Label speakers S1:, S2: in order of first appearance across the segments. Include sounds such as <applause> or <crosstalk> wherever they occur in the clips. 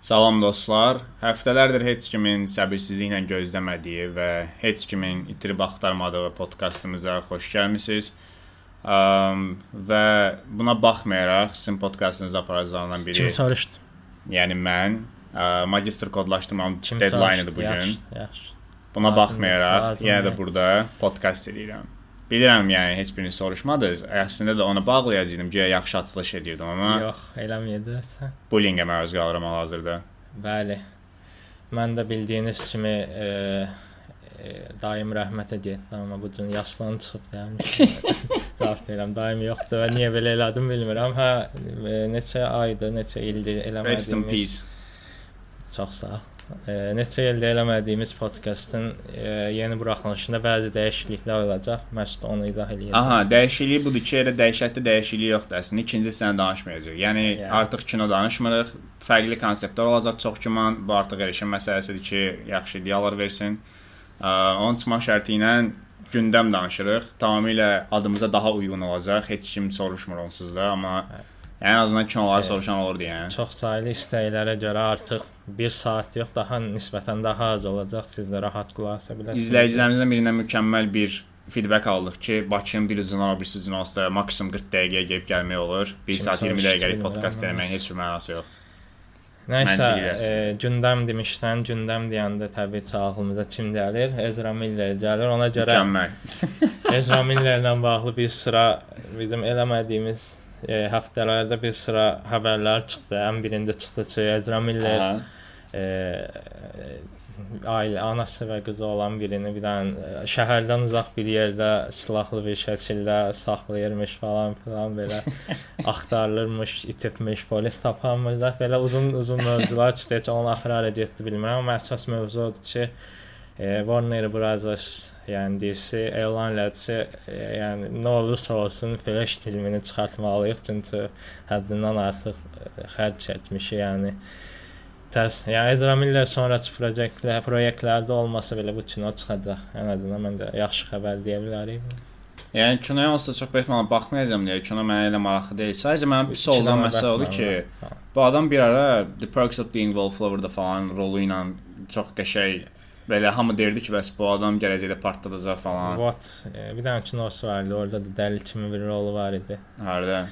S1: Salam dostlar. Həftələrdir heç kimin səbirsizliklə gözləmədiyi və heç kimin itirib axtarmadığı podkastımıza xoş gəlmisiniz. Um, və buna baxmayaraq sizin podkastınızı aparacağından biri,
S2: Kim soruşdu?
S1: yəni mən, ə, magistr kodlaşdırmamın
S2: Kim
S1: deadline-ıdır
S2: soruşdu?
S1: bu gün.
S2: Yaxşı, yaxşı.
S1: Buna
S2: Lazım-
S1: baxmayaraq
S2: lazım
S1: yenə də
S2: deyil.
S1: burada podkast edirəm. Bilirəm, yəni heç birini soruşmadınız. Əslində də ona bağlayacaqdım, guya yaxşı açılış edirdim, amma
S2: Yox, eləməyəcəksən.
S1: bullyingə məruz qalıram hal-hazırda.
S2: Bəli. Mən də bildiyiniz kimi e, e, daim rəhmətə getdim, amma bu gün yaşlanıb çıxıb
S1: <laughs>
S2: yəni. Rahat deyirəm, daim yoxdur və niyə belə elədim bilmirəm. Hə, e, neçə aydır, neçə ildir
S1: Rest in
S2: eləmədiyimiz.
S1: peace.
S2: Çox sağ ol. E, neçə ildir eləmədiyimiz podkastın e, yeni buraxılışında bəzi dəyişikliklər olacaq. Məşq onu izah eləyəcəm.
S1: Aha, dəyişikliyi budur ki, elə dəhşətli dəyişiklik yoxdur əslində. İkinci sənə danışmayacağıq. Yəni yeah.
S2: Yeah.
S1: artıq kino danışmırıq. Fərqli konseptlər olacaq çox güman. Bu artıq erişim məsələsidir ki, yaxşı ideyalar versin. Ə, Onun çıxmaq şərti ilə gündəm danışırıq. Tamamilə adımıza daha uyğun olacaq. Heç kim soruşmur onsuz da, amma ən azından kinoları soruşan olurdu yəni.
S2: Çox saylı istəklərə görə artıq 1 saat yox, daha nisbətən daha az olacaq. Siz də rahat qulaq asa bilərsiniz.
S1: İzləyicilərimizdən birindən mükəmməl bir feedback aldıq ki, Bakının bir ucundan o birisi ucuna olsa da maksimum 40 dəqiqəyə gəlib gəlmək olur. 1
S2: Kim
S1: saat 20
S2: soruşdu
S1: dəqiqəlik
S2: bilmirəm,
S1: podkast
S2: amma
S1: eləməyin heç bir mənası yoxdur.
S2: Nəysə,
S1: Məntiqi
S2: e,
S1: dərsdir.
S2: gündəm demişdən, gündəm deyəndə təbii ki, ağlımıza kim gəlir? Ezra Miller gəlir. Ona görə
S1: Mükəmməl.
S2: Ezra Millerlə bağlı bir sıra bizim eləmədiyimiz e, həftələrdə bir sıra xəbərlər çıxdı. Ən birində çıxdı ki, Ezra Miller
S1: Aha.
S2: e, ailə anası və qızı olan birini bir dənə e, şəhərdən uzaq bir yerdə silahlı bir şəkildə saxlayırmış falan filan belə axtarılırmış, itirmiş, polis tapanmır da belə uzun-uzun mövzular çıxdı. Heç Onun axırı hara getdi bilmirəm, amma əsas mövzu odur ki, e, Warner Bros. yəni DC elan elədi ki, e, yəni nə olursa olsun Flash filmini çıxartmalıyıq çünki həddindən artıq e, xərc etmiş, yəni Təs, yəni Ezra Miller sonrakı proyektlə, proyektlərdə olmasa belə bu kino çıxacaq. Ən azından mən də yaxşı xəbər deyə bilərəm.
S1: Yəni kinoya olsa çox peşmanam baxmayacağam deyə kino mənə elə maraqlı deyil. Sadəcə mənim pis olan
S2: Kinoma
S1: məsələ odur ki,
S2: baxmıram da.
S1: bu adam bir ara eh, The Perks of Being Wallflower-da falan rolu ilə çox qəşəng belə hamı derdi ki, bəs bu adam gələcəkdə partladacaq falan.
S2: What e, bir dənə kinosu var idi, orada da dəli kimi bir rolu var idi.
S1: Harda?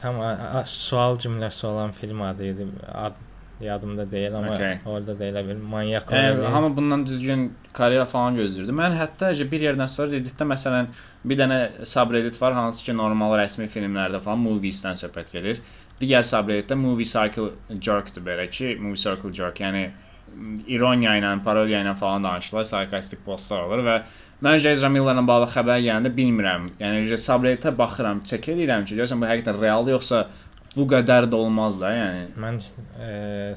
S2: Tam a- a- sual cümləsi olan film adı idi. Ad yadımda deyil amma
S1: Okay.
S2: okay. orada da elə bir manyak
S1: Yəni
S2: oynayır.
S1: hamı bundan düzgün karyera falan gözləyirdi. Mən hətta elə bir yerdən sonra Redditdə məsələn bir dənə subreddit var, hansı ki normal rəsmi filmlərdə falan movies-dən söhbət gedir. Digər subredditdə movie circle jerk-dir belə ki, movie circle jerk, yəni m, ironiya ilə, parodiya ilə falan danışılır, sarkastik postlar olur və Mən Jezra Millerlə bağlı xəbər gələndə bilmirəm. Yəni elə subredditə baxıram, çək edirəm ki, görsən bu həqiqətən realdır yoxsa bu qədər də olmaz da, yəni.
S2: Mən e,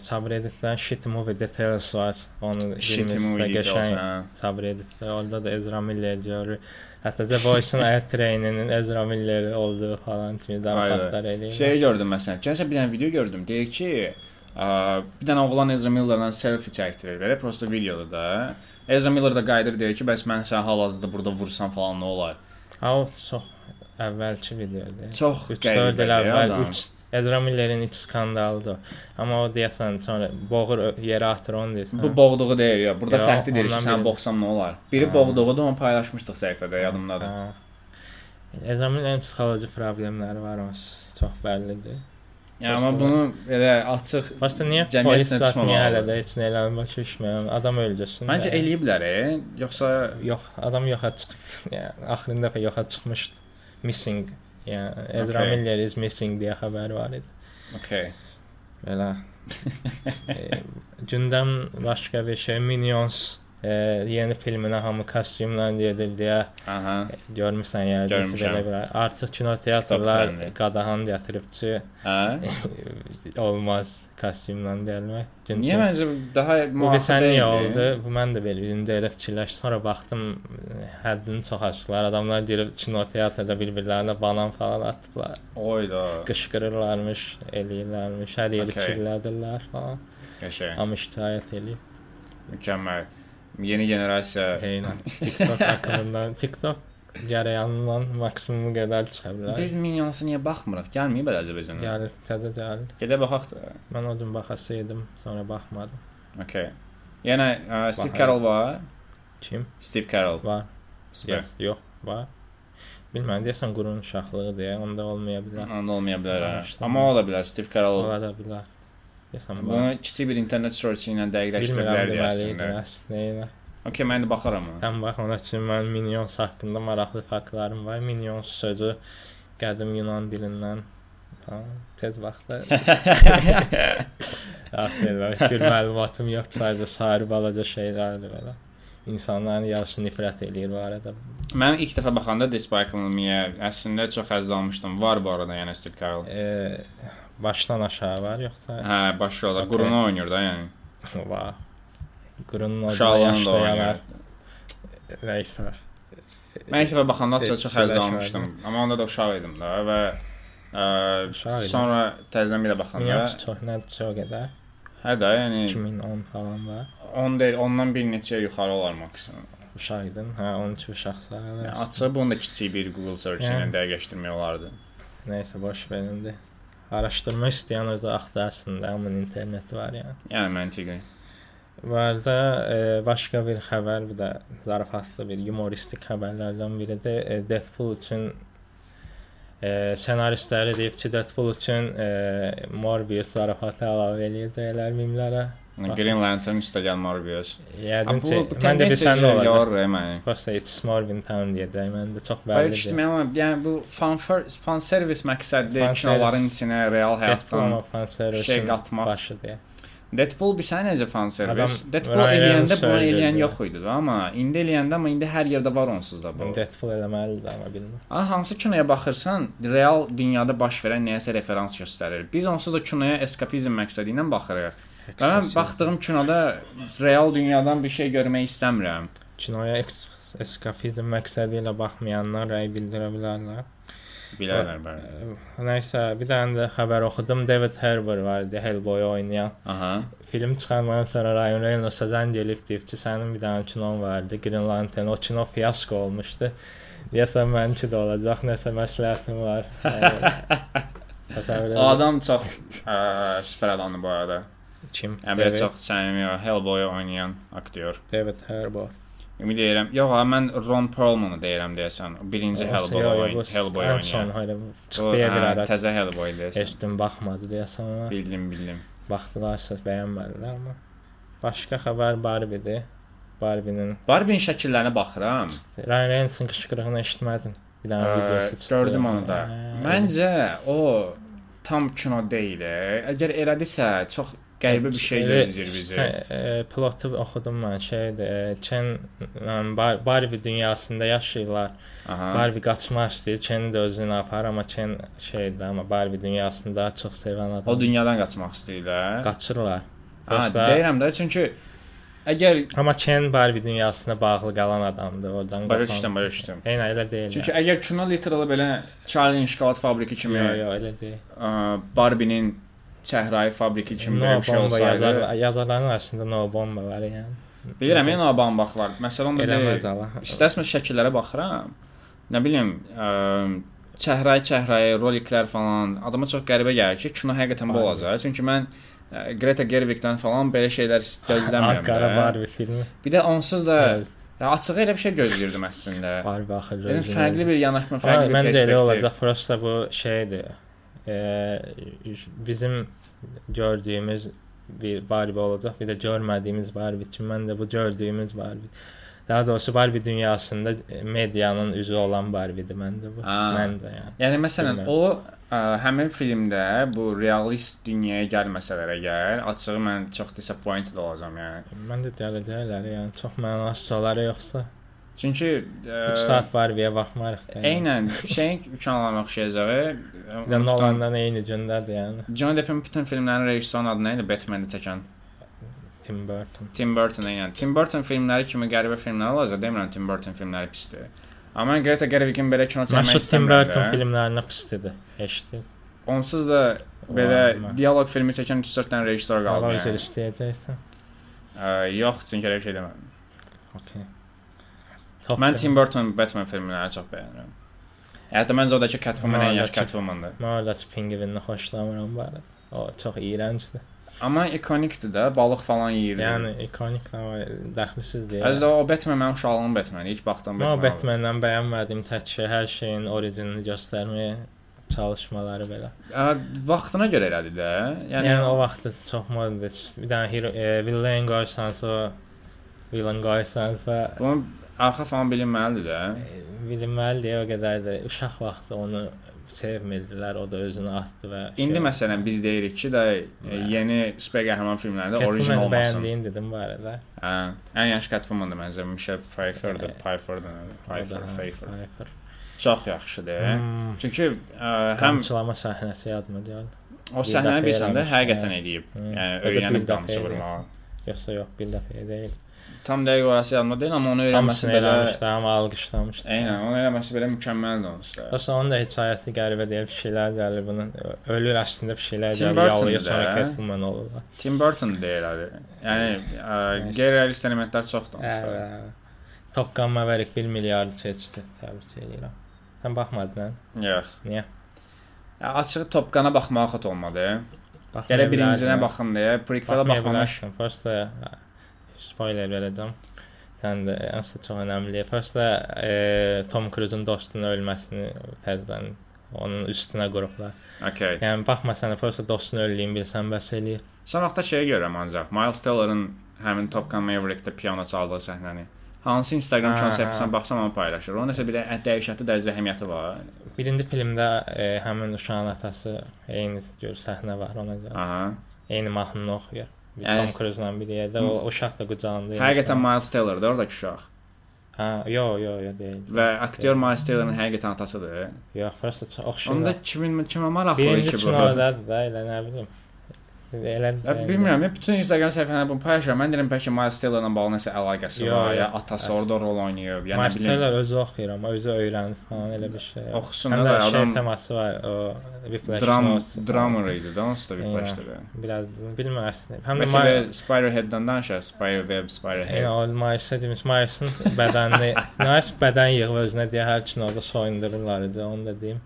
S2: subredditdən shit movie details var. Onu
S1: Shit
S2: bilmirsiniz və
S1: movie
S2: qəşəng
S1: olsa.
S2: subredditdə orada da Ezra Miller görür. Hətta The Voice-un
S1: <laughs>
S2: Air Train-inin Ezra Miller'i olduğu falan kimi zarafatlar
S1: Ayda.
S2: eləyir.
S1: Şey gördüm məsələn. Gəlsə bir dənə video gördüm. Deyir ki, ə, bir dənə oğlan Ezra Millerlə selfie çəkdirir. Belə prosta videoda da. Ezra Miller də qayıdır deyir ki, bəs mən səni hal-hazırda burada vursam falan nə olar?
S2: Ha, o çox əvvəlki videodur.
S1: Çox
S2: 3-4 il
S1: qəribədir
S2: əvvəl
S1: adam.
S2: üç Ezra Miller'in iç skandalıdır. Amma o deyəsən sonra boğur ö- yerə atır onu deyirsən.
S1: Bu boğduğu deyir ya. Burada
S2: Yo,
S1: təhdid edir ki,
S2: ondan
S1: sən
S2: biri- Hə.
S1: boğsam nə olar? Biri
S2: Ha.
S1: boğduğudu, onu paylaşmışdıq səhifədə, yadımdadır.
S2: Ha. Ezra Miller'in psixoloji problemləri var, o s- çox bəllidir.
S1: Yəni amma
S2: Başda-
S1: bunu belə açıq
S2: Başda niyə
S1: Cəmiyyət
S2: polis
S1: nə
S2: satmıyor
S1: çıxmamalıdır?
S2: hələ də heç nə eləmir, başa düşmürəm. Adam öldürsün.
S1: Məncə
S2: də.
S1: eləyiblər, e? yoxsa
S2: Yox, adam yoxa çıxıb. <laughs> Yəni axırıncı dəfə yoxa çıxmışdı. Missing. Yəni Ezra
S1: Okay.
S2: okay. Miller is missing deyə xəbər var idi.
S1: okey.
S2: Belə. <laughs> e, gündəm başqa bir şey Minions e, yeni filminə hamı kostyumla gedir deyə
S1: Aha.
S2: görmüsən yəni ki,
S1: Görmüşəm.
S2: belə bir artıq kino teatrlar
S1: Kitablarında.
S2: qadahan gətirib ki
S1: Hə?
S2: <laughs> olmaz kostyumla gəlmək. Çünki-
S1: Niyə məncə daha
S2: Bu
S1: müasir
S2: keçən il
S1: deyildi?
S2: oldu. Bu mən də belə indi elə fikirləşdim. Sonra baxdım e, həddini çox aşdılar. Adamlar gəlib kino teatrda bir-birlərinə banan falan atdılar.
S1: Oyda.
S2: Qışqırırlarmış, eləyirlərmiş, hər yeri
S1: Okay.
S2: okay. kirlədirlər falan.
S1: Qəşəng.
S2: Amma şikayət eləyib.
S1: Mükəmməl. Yeni generasiya
S2: Eynən. TikTok haqqında TikTok gərəyanından maksimumu qədər çıxa bilər.
S1: Biz Minyonsa niyə baxmırıq? Gəlməyib elə Azərbaycana.
S2: Gəlib, təzə gəlib.
S1: Gedə baxaq da.
S2: Mən o gün baxasaydım, sonra baxmadım.
S1: Okay. Yenə uh, Steve
S2: Baxarıq.
S1: Carell var.
S2: Kim?
S1: Steve Carell.
S2: Var.
S1: Süper.
S2: Yox, yox, var. Bilmirəm, deyəsən qurun uşaqlığı deyə, onda olmaya bilər.
S1: Onda olmaya bilər. ha.
S2: Danışdım.
S1: Amma o da bilər Steve Carell.
S2: Ola da bilər. Deyəsən, var.
S1: Bunu kiçik bir internet search ilə dəqiqləşdirə
S2: Bilmirəm,
S1: bilərdik
S2: deməliydi,
S1: əslində.
S2: əslində. elə.
S1: Okay, mən də baxaram
S2: <laughs>
S1: ona.
S2: Sən bax ona ki, mən Minions haqqında maraqlı faktlarım var. Minions sözü qədim Yunan dilindən ha, tez vaxtda
S1: <laughs>
S2: Axırlar, bir məlumatım yoxdur, sadəcə sair balaca şeylərdir belə. İnsanların yarısı nifrət eləyir bu arada.
S1: Mən ilk dəfə baxanda Despicable Me-yə əslində çox həzz almışdım. Var bu arada yəni Steve Carell.
S2: E, başdan aşağı var yoxsa?
S1: Hə, başı ola.
S2: Okay.
S1: Qurunu oynayır da yəni.
S2: Va. Qurunun adı
S1: Uşaqlığını da
S2: yaşlı
S1: oynayır.
S2: yanar. Nəysə.
S1: Mən ilk dəfə baxanda açığı çox həzz
S2: Dəqiqləşmə
S1: almışdım. Amma onda da uşaq idim də və ə,
S2: Uşaq idin.
S1: sonra təzədən bir də baxanda
S2: Minions çox nə çox qədər?
S1: hə də yəni
S2: 2010 falan var.
S1: 10 deyil, ondan bir neçə yuxarı olar maksimum.
S2: Uşaq idin, hə, 12 uşaq sayılır.
S1: Yəni açığı bunu da kiçik bir Google search ilə
S2: Yəni.
S1: dəqiqləşdirmək olardı.
S2: Nəysə boş verindi. Araşdırma istəyən özü axtarsın da, amma internet var yəni.
S1: Yəni məntiqli.
S2: Və də e, başqa bir xəbər, bu da zarafatlı bir yumoristik xəbərlərdən biridir. E, Deadpool üçün e, ssenaristləri deyib ki, Deadpool üçün e, Morbius zarafatı əlavə eləyəcəklər mimlərə. Bax.
S1: Green Lantern üstəgəl Morbius.
S2: Yəqin
S1: Bu
S2: ki, mən də
S1: tendensiya
S2: bilsən nə olacaq.
S1: yayılır, yəni.
S2: Prosta It's Morbin Town deyəcək, mən də çox
S1: Bəli,
S2: bəllidir.
S1: eşitməyəm amma yəni bu fan fir- fan servis məqsədli
S2: Fan
S1: kinoların
S2: service.
S1: içinə real həyatdan
S2: Deadpool fanservisin
S1: şey qatmaq.
S2: başı deyə.
S1: Deadpool bir sənə necə fan servis?
S2: Adam
S1: Deadpool
S2: Ryan
S1: eləyəndə bunu
S2: Reynolds
S1: eləyən
S2: söyledi.
S1: yox idi də, amma indi eləyəndə amma indi hər yerdə var onsuz da bu.
S2: Deadpool eləməlidir amma bilmirəm.
S1: Amma hansı kinoya baxırsan, real dünyada baş verən nəyəsə referans göstərir. Biz onsuz da kinoya eskapizm məqsədi ilə baxırıq. Və
S2: şey
S1: mən baxdığım kinoda real dünyadan bir şey görmək istəmirəm.
S2: kinoya eks- eskafizm məqsədi ilə baxmayanlar rəy bildirə bilərlər.
S1: Bilərlər bəli.
S2: Nəysə, bir dənə də xəbər oxudum. David Harbour var idi, Hellboy oynayan.
S1: Aha.
S2: Film çıxandan sonra Ryan Reynolds'a zəng gəlib deyib ki, sənin bir dənə kinon vardı, Green Lantern. O kino fiasko olmuşdu. Deyəsən mənimki də olacaq, nəsə məsləhətim
S1: <laughs>
S2: var.
S1: O
S2: Təsəvvür edirəm.
S1: adam çox ə, süper adamdır bu arada.
S2: kim?
S1: Əmrə
S2: David,
S1: çox səmimi o Hellboy oynayan aktyor.
S2: David Harbour.
S1: Ümid edirəm. Yox, ha, mən Ron er Perlmanı deyirəm deyəsən. O Birinci
S2: er
S1: Hellboy oynayan, Hellboy
S2: Hellboy. Son
S1: oynayan.
S2: hayla
S1: O
S2: çıxdı bir
S1: hə,
S2: ara.
S1: təzə Hellboy deyəsən.
S2: Eşitdim baxmadı deyəsən ona.
S1: Bildim, bildim.
S2: Baxdılarsa bəyənmədilər amma. Başqa xəbər Barbiedir. Barbie'nin
S1: Barbie şəkillərinə baxıram.
S2: Ryan Reynolds'ın qışqırığını eşitmədin. Bir dənə
S1: Ə,
S2: videosu Ee, çıxdı.
S1: Ee, Gördüm onu da.
S2: Hə,
S1: Məncə o tam kino deyil. e. Əgər elədisə, çox qəribə bir şey
S2: elə-
S1: gözləyir bizi.
S2: sən, e, Plotu oxudum mən. Şeydir, e, Ken e, Bar- Barbie dünyasında yaşayırlar.
S1: Aha.
S2: Barbie qaçmaq istəyir. Ken də özünü apar amma Ken şeydir amma Barbie dünyasını daha çox sevən adam.
S1: O dünyadan qaçmaq istəyirlər.
S2: qaçırlar.
S1: Ha,
S2: Yoxsa-
S1: deyirəm də, çünki əgər
S2: Amma Ken Barbie dünyasına bağlı qalan adamdır. Oradan
S1: başa
S2: qopan-
S1: düşdüm, başa düşdüm.
S2: Eynə elə deyil.
S1: Çünki əgər kino literally belə Charlie şokolad fabriki kimi
S2: Yox, yox, elə deyil.
S1: ə, Barbie-nin çəhrayı fabriki kimi
S2: No
S1: belə bir şey
S2: bomba yazar,
S1: olsaydı.
S2: yazarların arasında no bomba var yəni.
S1: Bilirəm, yəni o bambaxlar. Məsələn onda
S2: Eləməz
S1: deyil.
S2: ala.
S1: İstərsəniz şəkillərə baxıram. Nə bilim, ə, çəhrayı çəhrayı, roliklər falan adama çox qəribə gəlir ki, kino həqiqətən bu
S2: Barbie.
S1: olacaq. Çünki mən ə, Greta Gerwig-dən falan belə şeylər
S2: <laughs>
S1: gözləmirəm.
S2: Qara
S1: də. Hə.
S2: Barbie filmi.
S1: Bir də onsuz da
S2: Bəli,
S1: ya, açığı elə bir şey gözləyirdim əslində.
S2: Barbie axırda.
S1: Yəni
S2: özünü-
S1: fərqli bir yanaşma,
S2: Ay,
S1: fərqli bir
S2: Mən də elə
S1: perspektiv.
S2: olacaq. Prosta bu şeydir. Eee bizim gördüyümüz bir Barbie olacaq, bir də görmədiyimiz Barbie. Çünki mən də bu gördüyümüz Barbie. Daha doğrusu Barbie dünyasında e, medianın üzü olan Barbie-dir məndə bu.
S1: Ha.
S2: Mən də yəni.
S1: Yəni məsələn
S2: Bilmirəm.
S1: o ə, həmin filmdə bu realist dünyaya gəlməsələrə gəl, açığı mən çox disappointed olacağam yəni.
S2: Mən də gələcəklər, yəni çox mənasızları yoxsa
S1: Çünki
S2: 3
S1: ə,
S2: saat Barbie-yə baxmarıq. yəni.
S1: eynən şeyin uçanlarına
S2: <laughs>
S1: oxşayacaq.
S2: Bir də Nolan'dan eyni gündədir yəni.
S1: John Depp'in bütün filmlərinin rejissorunun adı nə idi? Batman-i çəkən.
S2: Tim Burton.
S1: Tim Burton eynən. Tim Burton filmləri kimi qəribə filmlər olacaq. Demirəm Tim Burton filmləri pisdir. Amma mən Greta Gerwig-in belə kino çəkmək
S2: Məşhur Tim Burton
S1: istəmirəm. də.
S2: filmlərinə pis dedi. Eşitdim.
S1: Onsuz da belə dialoq filmi çəkən 3-4 dənə rejissor qaldı.
S2: qalıb
S1: Yəni.
S2: istəyəcəksən.
S1: Ə, yox, çünki elə bir şey demədim.
S2: Okay. Top
S1: Mən Tim Burton Batman filmlərini çox bəyənirəm. Hətta məncə odakı Catwoman ən yaxşı
S2: Maalesef.
S1: Catwomandır.
S2: Məhəlləçi pingvinini xoşlamıram bari. O çox iyrəncdir.
S1: Amma ikonikdir də, balıq falan yeyirdi.
S2: Yəni ikonik amma dəxlisizdir.
S1: Əslində o Batman mənim uşaqlığım Batman. İlk baxdığım
S2: Mən o
S1: Batman.
S2: Batman-dən bəyənmədim tək şey, hər şeyin orijinini göstərməyə çalışmaları belə.
S1: Ə, vaxtına görə elədi də.
S2: Yəni,
S1: Yəni,
S2: yəni o vaxtda çox modadır. Bir dənə hero, e, villain qoysansa, villain qoysansa
S1: bunun arxa falan bilinməlidir də.
S2: e, bilinməli deyə o qədər də uşaq vaxtı onu sevmirdilər, o da özünü atdı və şey-
S1: İndi məsələn biz deyirik ki, də e, yeni super qəhrəman filmlərində orijinal
S2: Catwoman-ı
S1: olmasın.
S2: bəyəndiyin dedim bu arada.
S1: Hə, ən yaxşı Catwoman'dır məncə Michelle Pfeiffer-dır,
S2: Ə,
S1: Pfeiffer-dır,
S2: O
S1: Pfeiffer,
S2: da-
S1: Pfeiffer.
S2: Pfeiffer.
S1: Çox yaxşıdır.
S2: Hmm.
S1: Çünki ə, həm
S2: Qamçılama səhnəsi yadıma gəlir.
S1: o
S2: dəfə
S1: səhnəni bilsən də
S2: eləmiş,
S1: həqiqətən
S2: hə.
S1: eləyib.
S2: Hı.
S1: Yəni
S2: Ya da bir
S1: öyrənib
S2: dəfə
S1: qamçı vurmağı.
S2: Yoxsa yox, bir dəfə deyil.
S1: Tam dəqiq orası yadıma deyil, amma onu öyrənməsi
S2: Hamısını
S1: belə
S2: eləmişdi, amma alqışlamışdı.
S1: Eynən, onu eləməsi belə mükəmməldir onsuz da.
S2: Yoxsa onun da hekayəsi qəribə deyil, bir şeylər gəlir bunun. Ölür əslində bir şeylər
S1: Tim
S2: gəlir,
S1: Burton-dur
S2: yalıyır sonra
S1: da.
S2: Catwoman olur. da.
S1: Tim Burton deyil adı. Yəni ə, qeyri-realist elementlər çoxdur onsuz da.
S2: Top Gun Maverick 1 milyard seçdi, təbrik edirəm. Sən baxmadın, hə?
S1: Yox.
S2: Niyə?
S1: Ə, Açığı Topqana baxmağa xət olmadı.
S2: Baxmaya
S1: Gələ birincinə
S2: bilərdim.
S1: baxın deyə, prequela
S2: Baxmaya
S1: baxmamış.
S2: bilərsən. Prosta hə, spoiler verəcəm. Sən də əsl çox önəmli. Prosta e, Tom Cruise-un dostunun ölməsini təzədən onun üstünə qurublar.
S1: Okay.
S2: Yəni baxmasan da prosta dostunun öldüyünü bilsən bəs eləyir.
S1: Son vaxtda şeyi görürəm ancaq. Miles Teller'ın həmin Top Gun Maverick-də piano çaldığı səhnəni. Hansı Instagram
S2: Ha,
S1: kanal
S2: ha.
S1: səhifəsinə baxsam onu paylaşır. Onun isə bir də dəhşətli dərəcədə əhəmiyyəti var.
S2: Birinci filmdə e, həmin uşağın atası eyni gör səhnə var ona görə.
S1: Aha.
S2: Eyni mahnını oxuyur. Bir
S1: Yəni-
S2: Tom Cruise-la bir yerdə o uşaq da qucağında.
S1: Həqiqətən Miles Teller'dır oradakı uşaq.
S2: Ha, yo, yo, yo deyil.
S1: Və aktyor Miles Teller'ın həqiqətən atasıdır.
S2: Yox, prosta çox
S1: Onda
S2: oxşayır.
S1: kimin kimə maraqlı
S2: Birinci
S1: ki bu?
S2: kinodadır da, elə nə bilim. Elə
S1: Ya bilmirəm, ya bütün Instagram səhifələrində bunu paylaşıram. Mən deyirəm bəlkə Miles Teller'la bağlı nəsə əlaqəsi
S2: Yo,
S1: var,
S2: yo.
S1: ya atası
S2: Əs-
S1: orada rol oynayıb, ya nə bilim.
S2: Masterlər özü oxuyur amma özü öyrənir falan elə bir şey.
S1: Oxusun
S2: Həm
S1: da
S2: də
S1: adam-
S2: şey teması var, o Whiplash
S1: Dram,
S2: Notes.
S1: drama idi də onsuz da bir
S2: Eyvah.
S1: plaşdı.
S2: Biraz bilmirəm əslində. Həm də
S1: Bəlkə
S2: Maya-
S1: bir Spiderhead-dən danışaq, Spiderweb,
S2: Yəni
S1: Spiderhead.
S2: o Mayısda demiş, Mayısın bədənini, <laughs> Mayıs bədən yığıb özünə deyə hər kinoda soyundururlar idi, onu da deyim.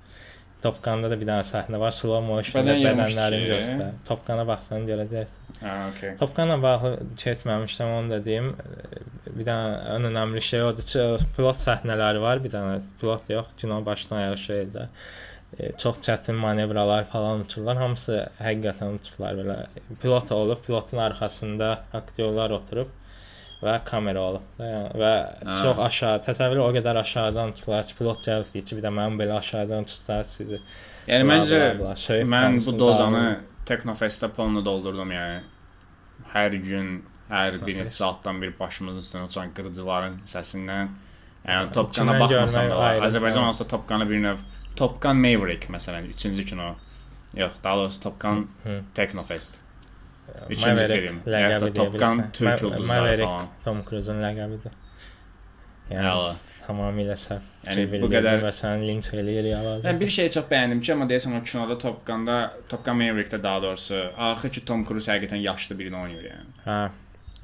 S2: Topqanda da bir dənə səhnə var, slow motion
S1: Bədən yığmışdı
S2: bədənlərini
S1: ki.
S2: göstər. Topqana baxsan görəcəksən.
S1: Ha, okey.
S2: Topqanla bağlı çetməmişdim, onu da deyim. Bir dənə ən önəmli şey odur ki, pilot səhnələri var, bir dənə pilot yox, kino başdan ayağa şeydir. Çox çətin manevralar falan uçurlar. Hamısı həqiqətən uçurlar belə. Pilot olub, pilotun arxasında aktyorlar oturub və kamera olub. da, yəni, Və
S1: Ha.
S2: çox aşağı, təsəvvür o qədər aşağıdan uçurlar ki, pilot gəlib deyir ki, bir də mənim belə aşağıdan uçursa sizi.
S1: Yəni məncə
S2: şey,
S1: mən bu dozanı Teknofestdə ponla doldurdum, yəni hər gün hər bir neçə saatdan bir başımızın üstünə uçan qırıcıların səsindən yəni Topqana
S2: İçindən
S1: baxmasam
S2: görmək
S1: da
S2: ayrı,
S1: olar. Azərbaycan
S2: hə.
S1: olsa Topqana bir növ Topqan Maverick məsələn 3-cü kino. Yox, daha doğrusu Topqan
S2: Hı.
S1: Teknofest. Üçüncü film.
S2: ləqəbi
S1: Hətta
S2: deyə
S1: Top Gun
S2: bilirsən.
S1: Türk
S2: Ma-
S1: ulduzları
S2: Maverick,
S1: falan.
S2: Tom Cruise-un ləqəbidir.
S1: Əla.
S2: Yəni tamamilə səhv.
S1: Yəni, bu
S2: çevrilir
S1: qədər-
S2: və sən linç eləyir yalaz.
S1: Yəni bir şeyi çox bəyəndim ki, amma deyəsən o kinoda Top Gun-da, Top Gun Maverick-də daha doğrusu, axı ki Tom Cruise həqiqətən yaşlı birini oynayır yəni.
S2: Hə.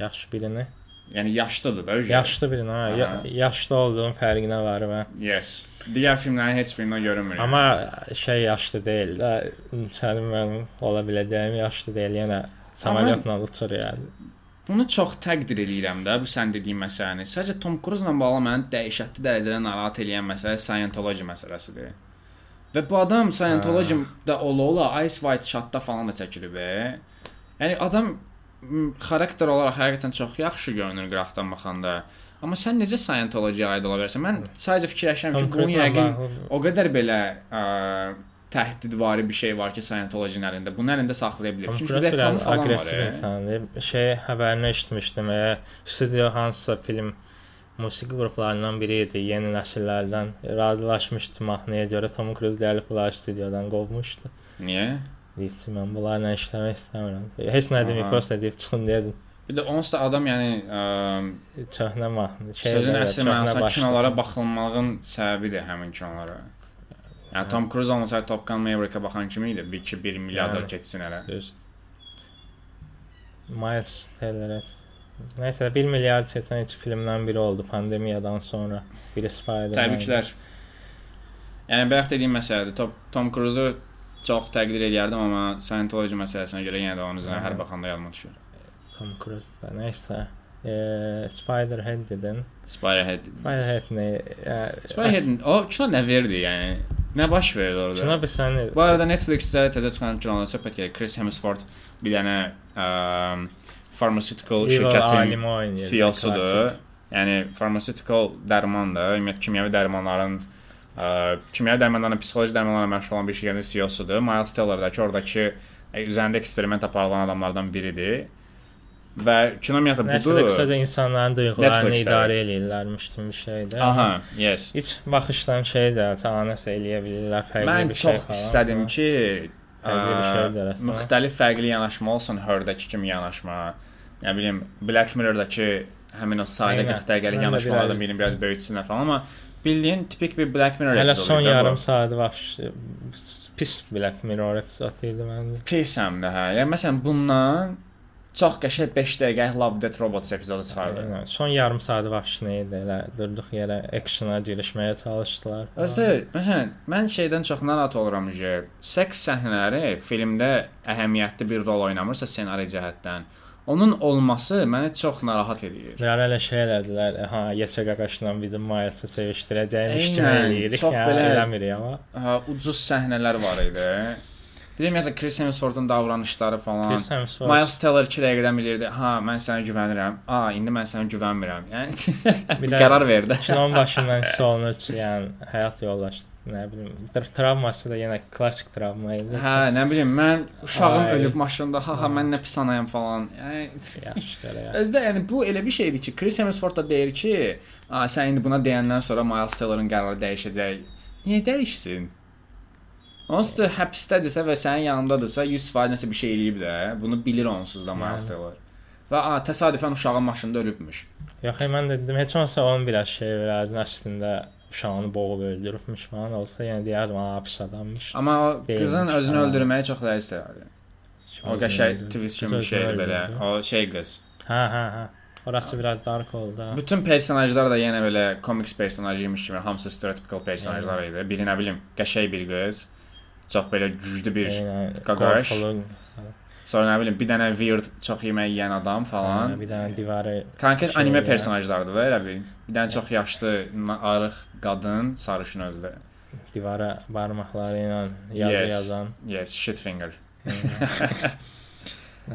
S2: Yaxşı birini.
S1: Yəni yaşlıdır da. özü.
S2: Yaşlı birini, ha. Ya,
S1: Aha.
S2: yaşlı olduğun fərqinə var və.
S1: Yes. Digər filmlərin heç birində görünmür. yəni.
S2: Amma şey yaşlı deyil də sənin mənim ola biləcəyim yaşlı deyil. Yenə samolyotla uçur yəni.
S1: Bunu çox təqdir edirəm də bu sən dediyin məsələni. Sadəcə Tom Cruise-la bağlı məni dəhşətli dərəcədə narahat eləyən məsələ Scientology məsələsidir. Və bu adam
S2: Hə.
S1: Scientology-da ola-ola Ice White Shot-da falan da çəkilib. e. Yəni adam m, xarakter olaraq həqiqətən çox yaxşı görünür qrafdan baxanda. Amma sən necə Scientology-ya aid ola bilərsən? Mən sadəcə fikirləşirəm ki,
S2: Hə. Tom
S1: bunun
S2: Cruise-la
S1: yəqin
S2: bağlı-
S1: o qədər belə ə, təhdidvari bir şey var ki, Scientology-nin əlində. Bunun əlində saxlaya bilər. Çünki
S2: Konkret
S1: reklamı
S2: biraz
S1: falan var.
S2: aqressiv
S1: e.
S2: insandır. Şey xəbərini eşitmişdim. E, studio hansısa film musiqi qruplarından biri idi, yeni nəsillərdən razılaşmışdı mahnıya görə Tom Cruise gəlib bunları studiyadan qovmuşdu.
S1: Niyə?
S2: Deyir ki, mən bunlarla işləmək istəmirəm. Heç nə demir,
S1: Aha.
S2: prosta deyib çıxın dedim.
S1: Bir də onsuz da adam yəni ə,
S2: Çəhnə mahnı. Şey
S1: sözün
S2: belə,
S1: əsl
S2: köhnə
S1: mənası
S2: başlı.
S1: kinolara baxılmağın səbəbidir həmin kinolara. Yəni Tom Cruise olmasaydı Top Gun Maverick-ə baxan kimi idi. 1-2-1 milyarder
S2: Yəni.
S1: keçsin hələ.
S2: Düz. Miles Teller'ə Nəysə 1 milyard çəkən üç filmdən biri oldu pandemiyadan sonra. Biri Spider-Man.
S1: Təbriklər. Yəni bayaq dediyim məsələdir. Tom, Tom Cruise-u çox təqdir edərdim, amma Scientology məsələsinə görə yenə də onun üzünə
S2: Hı.
S1: hər baxanda yadıma düşür.
S2: Tom Cruise da nəysə. Eee Eh, Spider-Head dedin.
S1: Spider-Head.
S2: Spider-Head eh, nə?
S1: Spider-Head o kino nə verdi, yəni? Nə baş verdi orada?
S2: Şuna bir sənə.
S1: Bu arada Netflix-də təzə çıxan kinolardan söhbət gedir. Chris Hemsworth bir dənə ə, pharmaceutical şirkətin CEO'sudur. Yəni pharmaceutical dərman da, ümumiyyətlə kimyəvi dərmanların ə, kimyəvi dərmanların psixoloji dərmanlarla məşğul olan bir şirkətin CEO-sudur. Miles Teller'dakı oradakı ə, üzərində eksperiment aparılan adamlardan biridir. Və kino ümumiyyətlə
S2: Nəsə də
S1: budur.
S2: qısaca insanların duyğularını
S1: Netflix-də.
S2: idarə eləyirlərmiş kimi bir şeydir.
S1: Aha, yes.
S2: İç baxışdan şey də çağanəsə eləyə bilirlər fərqli
S1: Mən
S2: bir şey.
S1: çox istədim ki,
S2: Fərqli bir şey
S1: ə,
S2: dərəsinə.
S1: müxtəlif fərqli yanaşma olsun Herdəki kimi yanaşma. Nə bilim Black Mirror-dakı həmin o sadə
S2: Aynen.
S1: 40 dəqiqəlik
S2: Mən də
S1: yanaşmalardan
S2: bilərdim.
S1: birini biraz böyütsünlər falan, amma bildiyin tipik bir Black Mirror
S2: Hələ
S1: epizodu
S2: son
S1: idi də bu.
S2: yarım saat vaxt pis Black Mirror epizodu idi məndə.
S1: pis həm də hə. Yəni məsələn bundan çox qəşəng 5 dəqiqəlik Love Death Robots epizodu çıxardı.
S2: Aynen. Son yarım saat vaxt nə idi? Elə durduq yerə action'a girişməyə çalışdılar.
S1: Özü, məsələn, mən şeydən çox narahat oluram ki, seks səhnələri filmdə əhəmiyyətli bir rol oynamırsa ssenari cəhətdən, onun olması məni çox narahat edir.
S2: Birər elə şey elədilər. e, Ha, yeçə qaqaşla bizim Miles'ı sevişdirəcəymiş kimi
S1: Aynen,
S2: eləyirik.
S1: çox
S2: ya,
S1: belə-
S2: eləmirik amma.
S1: Hə, ucuz səhnələr var idi. Bir də ümumiyyətlə Chris Hemsworth'un davranışları falan.
S2: Pis həm sonra.
S1: Miles Teller 2 dəqiqədən bilirdi. Ha, mən sənə güvənirəm. A, indi mən sənə güvənmirəm. Yəni
S2: <laughs>
S1: <laughs>
S2: Bir
S1: bir
S2: də-
S1: qərar verdi.
S2: Şunun başından sonunç, yəni həyat yoldaşı, nə bilim, tr- travması da yenə klassik travma idi.
S1: Hə, nə bilim, mən uşağım
S2: Ay.
S1: ölüb maşında. Ha, ha, mən nə pis anayam falan. Yəni
S2: Yaxşı elə. ya.
S1: Özdə yəni bu elə bir şeydir ki, Chris Hemsworth da deyir ki, "A, sən indi buna deyəndən sonra Miles Teller'ın qərarı dəyişəcək." Niyə dəyişsin? Onsuz da həbsdədirsə və sənin yanındadırsa 100% nəsə bir şey eləyib də, bunu bilir onsuz da Miles
S2: Yəni.
S1: Teller. Və a, təsadüfən uşağın maşında ölübmüş.
S2: Yox, ey, mən də dedim, heç olmasa onun biraz şey verərdin əslində uşağını boğub öldürübmüş falan olsa, yəni deyərdim, ha, pis adammış.
S1: Amma o
S2: Deyilmiş,
S1: qızın özünü
S2: hə.
S1: öldürməyi çox ləzzət idi. O qəşəng şey, twist kimi bir şeydir belə. O şey qız.
S2: Hə, hə, hə. Orası biraz dark oldu. ha.
S1: Bütün personajlar da yenə belə komiks personajıymış kimi, hamısı stereotypical personajlar idi. Biri nə bilim, qəşəng bir qız, çox belə güclü bir,
S2: Yəni,
S1: qaqaş
S2: qorxulu,
S1: sonra nə bilim, bir dənə weird çox yemək yeyən adam falan.
S2: hə, Bir dənə divarı
S1: Konkret
S2: şey
S1: anime
S2: ya. Hə.
S1: personajlardı da elə bir. Bir dənə çox yaşlı, na- arıq qadın, sarışın özü də.
S2: divara barmaqları ilə yazı
S1: Yes.
S2: yazan.
S1: Yes, shit finger. <laughs>
S2: Hə.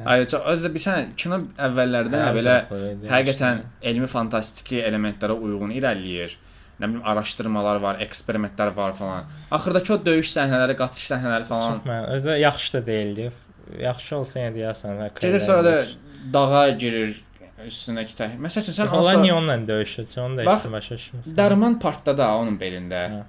S1: Ay, çox özü də bir sənə kino əvvəllərdə
S2: Hə,
S1: belə
S2: qorxulu idi,
S1: Həqiqətən elmi fantastiki elementlərə uyğun irəliləyir. Nə bilim araşdırmalar var, eksperimentlər var falan. Axırdakı o döyüş səhnələri, qaçış səhnələri falan.
S2: Çox mən özü də yaxşı da deyildi. Yaxşı olsa yenə deyəsən. hə,
S1: Gedir sonra da
S2: kredləmiş.
S1: dağa girir üstündəki təh. Məsəl üçün sən
S2: Onlar niyə
S1: onsuz
S2: onunla döyüşəcək? Onu da
S1: Bax,
S2: heç başa düşmürsən.
S1: dərman partda da onun belində.
S2: Hə.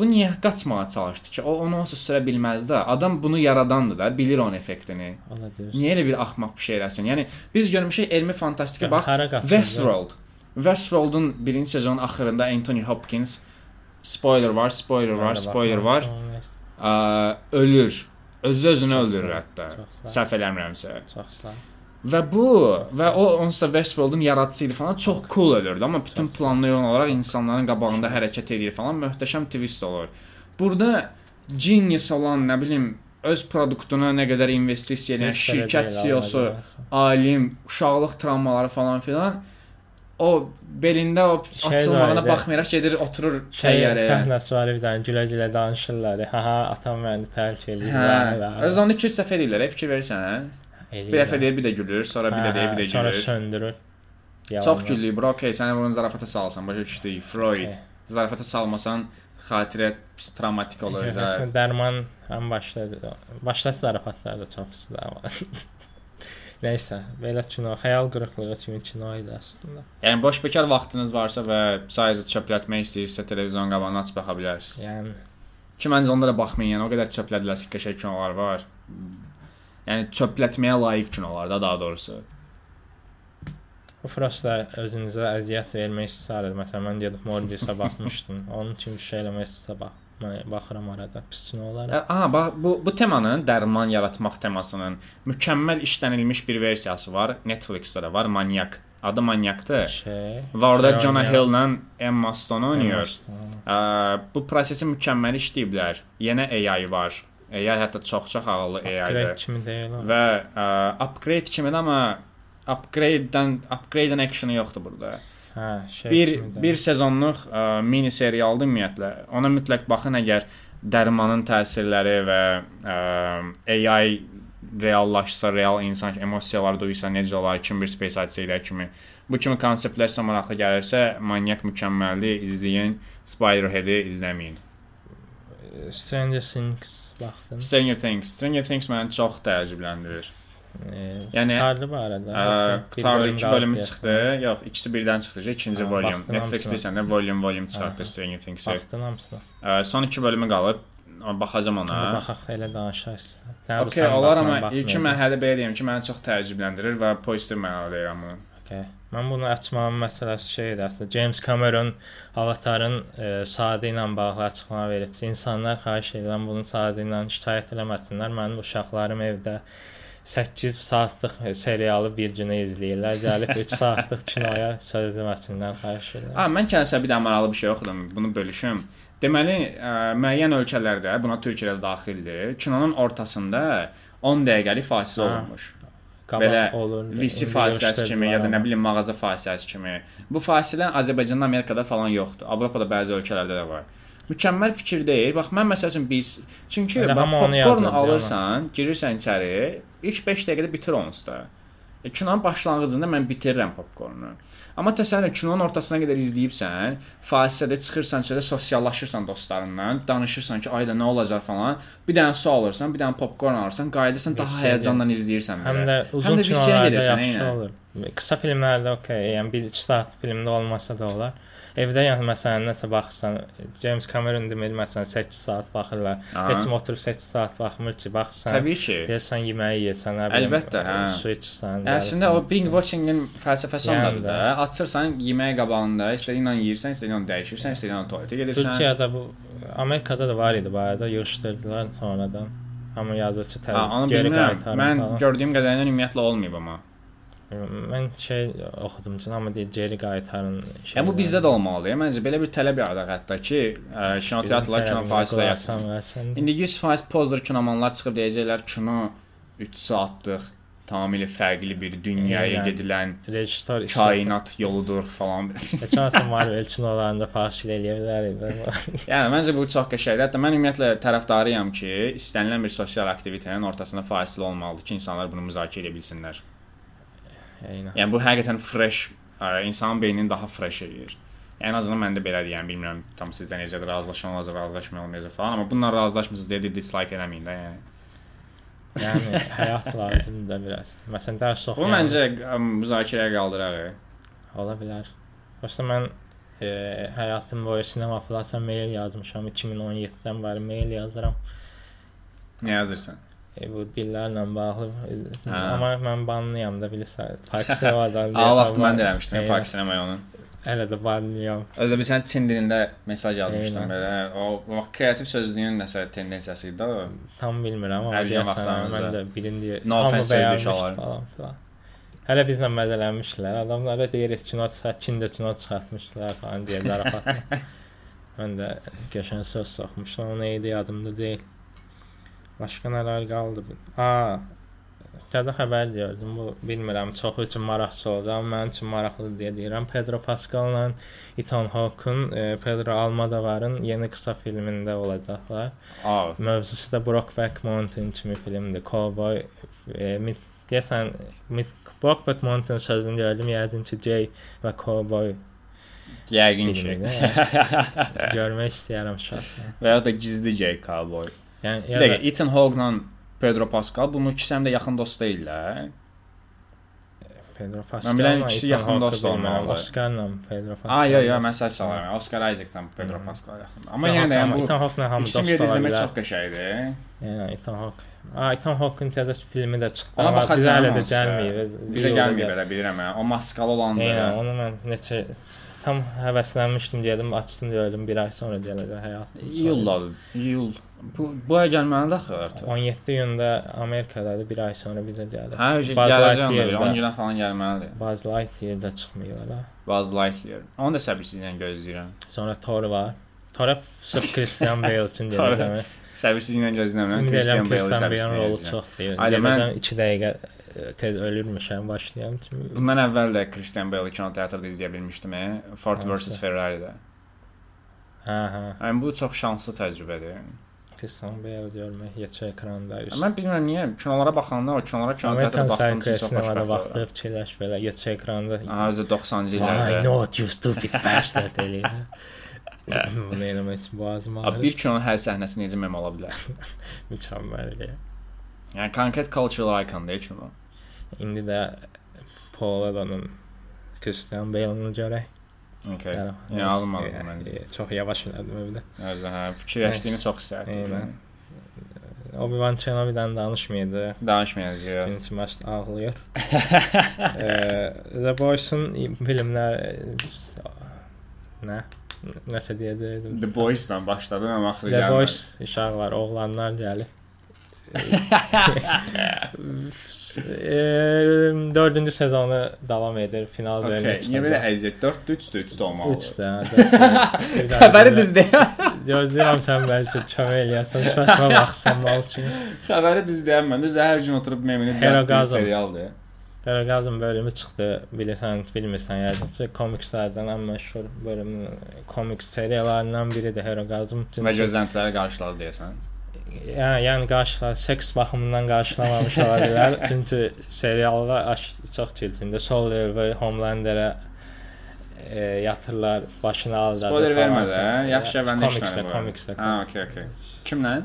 S1: Bu niyə qaçmağa çalışdı ki? O onu onsuz sürə bilməz də. Adam bunu yaradandı da, bilir onun effektini.
S2: Ola deyirsən.
S1: Niyə elə bir axmaq bir şey eləsin? Yəni biz görmüşük elmi fantastiki bax
S2: Hara qaçırdı?
S1: Westworld. Westworld'un birinci sezonun axırında Anthony Hopkins spoiler var, spoiler var,
S2: Hara
S1: spoiler
S2: baxmamışam,
S1: var.
S2: neyse,
S1: Ə, ölür. Özü özünü
S2: Çox
S1: öldürür
S2: sağ-
S1: hətta.
S2: çox sağ.
S1: Səhv eləmirəmsə.
S2: Çox sağ.
S1: Və bu və o onsuz da Westworld-un yaradıcısı idi falan, çox cool ölürdü, amma bütün planlı yol olaraq insanların qabağında hərəkət edir falan, möhtəşəm twist olur. Burada genius olan, nə bilim, öz produktuna nə qədər investisiya edən
S2: Heç belə
S1: şirkət E
S2: deyil,
S1: CEO-su
S2: Allah'a deyirsən.
S1: alim, uşaqlıq travmaları falan filan. O belində o
S2: Şey var
S1: açılmağına
S2: idi.
S1: baxmayaraq gedir, oturur
S2: Şey
S1: təyyarəyə.
S2: səhnəsi var bir dənə gülə-gülə danışırlar. Ha ha atam məni tərk eləyir.
S1: Hə. Öz onu 2 dəfə eləyirlər, e, fikir verirsən, hə? Bir dəfə deyir, bir də gülür, sonra bir də deyir, bir də
S2: Hə, Sonra
S1: gülür.
S2: söndürür.
S1: Çox güldük, bro. Okay, səni bunun zarafata salsan, başa düşdük. Freud.
S2: Okay.
S1: Zarafata salmasan xatirə pis- travmatik
S2: <laughs> Hə,
S1: olur zərər.
S2: Dərman həm başladı. Başladı zarafatlar da çox pis <laughs> amma. Nəysə, belə kino, xəyal qırıqlığı kimi kino idi əslində.
S1: Yəni boş bekar vaxtınız varsa və sayınızı çöplətmək istəyirsə televizyon qabağına açıb baxa bilərsiniz.
S2: Yəni
S1: Ki məncə onlara baxmayın, yəni o qədər çöplədilər qəşəng kinolar var. Yəni çöplətməyə layiq kinolar da daha doğrusu.
S2: Bu Frostda
S1: <laughs>
S2: özünüzə əziyyət vermək istəyirdi. Məsələn, mən gedib Morbius'a baxmışdım. Onun kimi bir şey eləmək istəyirdi. Mən baxıram arada pisçinə olaraq.
S1: Aha, bax bu bu temanın dərman yaratmaq temasının mükəmməl işlənilmiş bir versiyası var. Netflix-də də var. Manyak. Adı Manyakdır.
S2: Şey.
S1: Və orada
S2: Şey
S1: Jonah
S2: oynayır.
S1: Hill ilə Emma Stone oynayır.
S2: Başdan.
S1: Ə, bu prosesi mükəmməl işləyiblər. Yenə AI var. AI hətta çox-çox ağıllı
S2: Greg
S1: AI-dir.
S2: kimi deyil o.
S1: Və ə, upgrade kimi amma upgrade-dən upgrade-dən action yoxdur burada.
S2: Hə, şey.
S1: Bir
S2: kimi deyil.
S1: bir sezonluq ə, mini serialdır ümumiyyətlə. Ona mütləq baxın əgər dərmanın təsirləri və ə, AI reallaşsa, real insan emosiyalar duysa necə olar, kim bir space hadisələr kimi. Bu kimi konseptlər sizə maraqlı gəlirsə, manyak mükəmməldir, izləyin. Spiderhead-i izləməyin.
S2: Stranger Things baxdım.
S1: Stranger Things, Stranger Things məni çox təəccübləndirir. Yəni,
S2: Yəni qurtardı Ee, bu arada. Yoxsa bir
S1: Tarlı 2
S2: qaldı
S1: e, bölümü
S2: deyəsən.
S1: çıxdı. Yox, ikisi birdən çıxdı. İkinci
S2: Ha,
S1: volüm.
S2: baxdım
S1: Netflix
S2: Hə, hamısına.
S1: bilirsən də volüm volüm çıxartdı
S2: Aha.
S1: Stranger Things-i.
S2: Baxdın hamısına.
S1: Ə, son 2 bölümü qalıb. Baxacam ona.
S2: İndi Baxaq elə danışaq. istəyirsən. Hə, bu
S1: Okay,
S2: sən
S1: olar
S2: bax, mən
S1: amma ilki
S2: baxmayacam.
S1: mərhələ belə deyim ki, məni çox təəccübləndirir və pozitiv mənada deyirəm bunu.
S2: Okay. Mən bunu açmağım məsələsi şeydir əslində. James Cameron Avatarın e, saatı ilə bağlı açıqlama verir. ki, İnsanlar xahiş edirəm bunun saatı ilə şikayət eləməsinlər. Mənim uşaqlarım evdə 8 saatlıq e, serialı bir günə izləyirlər. Gəlib 3 saatlıq kinoya söz deməsinlər xahiş edirəm.
S1: A, Hə, mən kənsə bir də maraqlı bir şey oxudum. Bunu bölüşüm. Deməli, ə, müəyyən ölkələrdə, buna Türkiyə də daxildir, kinonun ortasında 10 dəqiqəlik fasilə
S2: Ha,
S1: olunmuş.
S2: Qabaq
S1: Belə
S2: indi
S1: VC fasiləsi kimi
S2: göstərdilər
S1: ya da nə
S2: amma.
S1: bilim mağaza fasiləsi kimi. Bu fasilə Azərbaycanda, Amerikada falan yoxdur. Avropada bəzi ölkələrdə də var. Mükəmməl fikir deyil. Bax mən məsəl üçün biz çünki
S2: Elə
S1: bax,
S2: hamı onu
S1: popcorn
S2: yazırdı,
S1: alırsan, girirsən içəri, ilk 5 dəqiqədə bitir onsda. E, Kinonun başlanğıcında mən bitirirəm popkornu. Amma təsəvvür et, kinonun ortasına qədər izləyibsən, fasilədə çıxırsan, çölə sosiallaşırsan dostlarınla, danışırsan ki, ayda nə olacaq falan. Bir dənə su alırsan, bir dənə popkorn alırsan, qayıdırsan, daha
S2: Vesiyə
S1: həyəcanla izləyirsən.
S2: Həm
S1: belə.
S2: də uzun
S1: də VC-yə
S2: kinolarda
S1: gedirsən,
S2: yaxşı
S1: eynən.
S2: olur. Qısa filmlərdə okey, yəni 1-2 saat filmdə olmasa da olar. Evdə yəni məsələn nəsə baxsan, James Cameron demir məsələn 8 saat baxırlar.
S1: Aha.
S2: Heç kim oturub 8 saat baxmır ki, baxsan.
S1: Təbii ki.
S2: Yesən yeməyi yesən, nə bilim,
S1: Əlbəttə, hə.
S2: Su içsən.
S1: Əslində o binge watching-in fəlsəfəsi
S2: Yəni
S1: ondadır da.
S2: də.
S1: Açırsan yemək qabağında, istədiyin an yeyirsən, istədiyin an dəyişirsən, istədiyin an tualetə gedirsən.
S2: Türkiyədə bu Amerikada da var idi bu arada, yığışdırdılar sonradan. Amma yazıcı
S1: Ha,
S2: təbii
S1: onu
S2: ki, geri
S1: bilmirəm.
S2: qaytarır.
S1: Mən
S2: falan.
S1: gördüyüm qədərilə ümumiyyətlə olmayıb amma.
S2: mən şey oxudum ki, amma deyir geri qaytarın.
S1: Yəni bu
S2: şeyləri.
S1: bizdə də olmalıdır. Məncə belə bir tələb yaradır hətta ki, ə, kino teatrlar kino fasilə yatsın.
S2: yatsın.
S1: İndi 100% pozdur kinomanlar çıxıb deyəcəklər kino 3 saatlıq tamamilə fərqli bir dünyaya
S2: Eynən.
S1: gedilən
S2: Rejissor <laughs> istəyir.
S1: kainat yoludur falan.
S2: Keçən həftə Marvel kinolarında fasilə eləyə bilər idi.
S1: yəni məncə bu çox qəşəngdir. Hətta mən ümumiyyətlə tərəfdarıyam ki, istənilən bir sosial aktivitenin ortasında fasilə olmalıdır ki, insanlar bunu müzakirə edə bilsinlər.
S2: Eynən.
S1: Yəni bu həqiqətən fresh ə, insan beynini daha fresh eləyir. Yəni, Ən azından məndə belə deyəm, bilmirəm tam sizdə necədir, razılaşan olacaq, razılaşmayan olmayacaq falan, amma bununla razılaşmısınız deyə də dislike eləməyin də, yəni.
S2: Yəni həyat lazımdır da biraz. Məsələn, dərs
S1: Bu
S2: oxuyan
S1: məncə ə, müzakirəyə qaldıraq.
S2: ola bilər. Başda mən e, həyatım boyu sinema filasa mail yazmışam. 2017-dən bəri mail yazıram.
S1: Nə yazırsan?
S2: E, bu dillərlə bağlı.
S1: Hə.
S2: Hə. Amma mən banlıyam da bilirsən. Pakistanadan.
S1: A vaxt mən də eləmişdim,
S2: Eyvah.
S1: Park Sinemaya onun.
S2: Hələ də banlıyam.
S1: Özə bir sən Çin dilində mesaj yazmışdın
S2: Eynən.
S1: belə. O o vaxt kreativ sözlüyün nəsə tendensiyası idi də. o.
S2: Tam bilmirəm amma
S1: Hər gün
S2: deyəsən,
S1: vaxtlarımızda.
S2: mən də birinci
S1: No
S2: hamı
S1: offense sözlük
S2: bəyənmiş
S1: olar.
S2: falan filan. Hələ bizlə mədələnmişlər. Adamlara deyirik kino çıxart, Çində kino çıxartmışlar falan
S1: <laughs>
S2: deyə zarafatla. mən də qəşəng söz soxmuşam. Ona idi yadımda deyil. Başqa nələr qaldı? A, tədə xəbər gördüm. Bu bilmirəm çox üçün maraqlı oldu, amma mənim üçün maraqlıdır deyə deyirəm. Pedro Pascal'la Ethan Hawke'un, e, Pedro Almodovar'ın yeni qısa filmində olacaqlar.
S1: A,
S2: Mövzusu da Brockback Mountain kimi filmdir. Cowboy e, mit, deyəsən mit, Brockback Mountain sözünü gördüm yəqin ki J və Cowboy
S1: yəqin ki.
S2: filmini
S1: <laughs>
S2: görmək istəyirəm şahsən.
S1: Və ya da gizli J Cowboy.
S2: Yəni
S1: Bir
S2: ya da,
S1: dəqiqə, Ethan Hawke-la Pedro Pascal bunun ikisi həm də yaxın dost deyillər.
S2: Pedro
S1: Mən bilən
S2: Pascal
S1: ikisi yaxın dost olmalıdır.
S2: Oscarla Pedro Pascal.
S1: A, yo, yo, mən səhv salıram. Oscar Isaacdan Pedro Pascal yaxın. Amma
S2: Ethan
S1: yenə də
S2: Hawke-
S1: yəni bu
S2: Ethan Hawke-la hamı
S1: İsim
S2: dost
S1: yerdə
S2: ola
S1: izləmək
S2: bilər.
S1: çox qəşəngdir.
S2: Yəni Ethan Hawke Aytan Hawk'ın təzə filmi də çıxdı.
S1: Ona
S2: amma Bizə
S1: baxacağam
S2: hələ də
S1: onsuz da.
S2: gəlməyib.
S1: Bizə gəlməyib elə bilirəm. hə. O maskalı olan da.
S2: Eynən, onu mən neçə tam həvəslənmişdim dedim, açdım gördüm bir ay sonra gələcək həyatım.
S1: İyulladır. İyul. Bu bu ay gəlməlidir axı artıq.
S2: 17 iyunda Amerikadadır, bir ay sonra bizə gəlir.
S1: Hə, şey
S2: Buzz
S1: gələcəm də,
S2: Lightyear'da-
S1: 10 günə falan gəlməlidir.
S2: Buzz Lightyear da çıxmıyor hələ.
S1: Buzz Lightyear. Onu da səbirsizliklə gözləyirəm.
S2: Sonra Thor var. Thor'a
S1: <laughs>
S2: sırf Christian Bale üçün
S1: Thor.
S2: deyəcəm.
S1: Səbirsizliklə gözləyirəm.
S2: Ümid edirəm
S1: Christian Bale'ı
S2: Christian Bale rolu
S1: səbirsizliklə.
S2: çox deyil.
S1: Ayda mən-
S2: Deyəcəm 2 dəqiqə e, tez ölürmüşəm başlayam. Çünki
S1: Bundan əvvəl də Christian Bale kino teatrda izləyə bilmişdim. e, Ford
S2: Hansı?
S1: vs Ferrari-də.
S2: Hə, hə.
S1: Yəni bu çox şanslı təcrübədir.
S2: Christian Bale görmək heç ekranda. üst-
S1: Mən bilmirəm niyə kinolara baxanda o kinolara kino teatrda
S2: Amerikan
S1: baxdığım
S2: sayıqı
S1: üçün çox
S2: sinemada
S1: xoşbəxt.
S2: baxıb fikirləş belə heç ekranda.
S1: Aha, özü 90-cı
S2: Why
S1: illərdə.
S2: not you
S1: <laughs>
S2: stupid bastard eləyir. Bunu eləmək üçün boğazıma
S1: Abi bir kinonun hər səhnəsi necə mem ola bilər?
S2: mükəmməldir.
S1: Yəni konkret cultural icon deyil ki bu.
S2: İndi də Paul Evan'ın Christian Bale'ını görək.
S1: Okay.
S2: Yəni,
S1: Yəni alınmadı
S2: e,
S1: məncə.
S2: e, Çox yavaş elədim evdə.
S1: Özü hə, fikirləşdiyini çox istərdim.
S2: Eynən. Obi-Wan Kenobi-dən danışmaydı.
S1: Danışmayacağıq.
S2: Birinci maçda ağlayır. Eee, The Boys'un filmlər nə? Nəsə deyəcəydim.
S1: The Boys-dan başladım amma axırı
S2: The
S1: gəlmədi.
S2: Boys uşaq var, oğlanlar gəlir. Eee, Ee, dördüncü sezonu davam edir, final bölümü
S1: Okay, niyə belə əziyyət 4 3 3 olmalı?
S2: 3 <laughs> də.
S1: Xəbəri düz deyən,
S2: Gözləyirəm sən bəlkə kömək eləyəsən, sifətimə baxsan mal üçün.
S1: xəbəri düz deyən məndə zəhər gün oturub memini
S2: Hero
S1: düzəltdiyi
S2: Gasm.
S1: serialdır.
S2: Qaraqazın bölümü çıxdı. Bilirsən, bilmirsən yəqin ki, komikslərdən ən məşhur bölümün komik seriyalarından biridir Qaraqazın.
S1: Və gözləntiləri qarşıladı deyəsən.
S2: Yəni, yəni qarşılar seks baxımından qarşılamamış ola bilər.
S1: <laughs>
S2: Çünki seriallar aş- çox çirkində. Soldier və Homelanderə e, yatırlar, başını aldadır.
S1: Spoiler
S2: falan.
S1: vermə də, yaxşı əvvəlində
S2: Komiksdə,
S1: işləmə.
S2: komiksdə.
S1: Ha, okey, okey. Kimlə?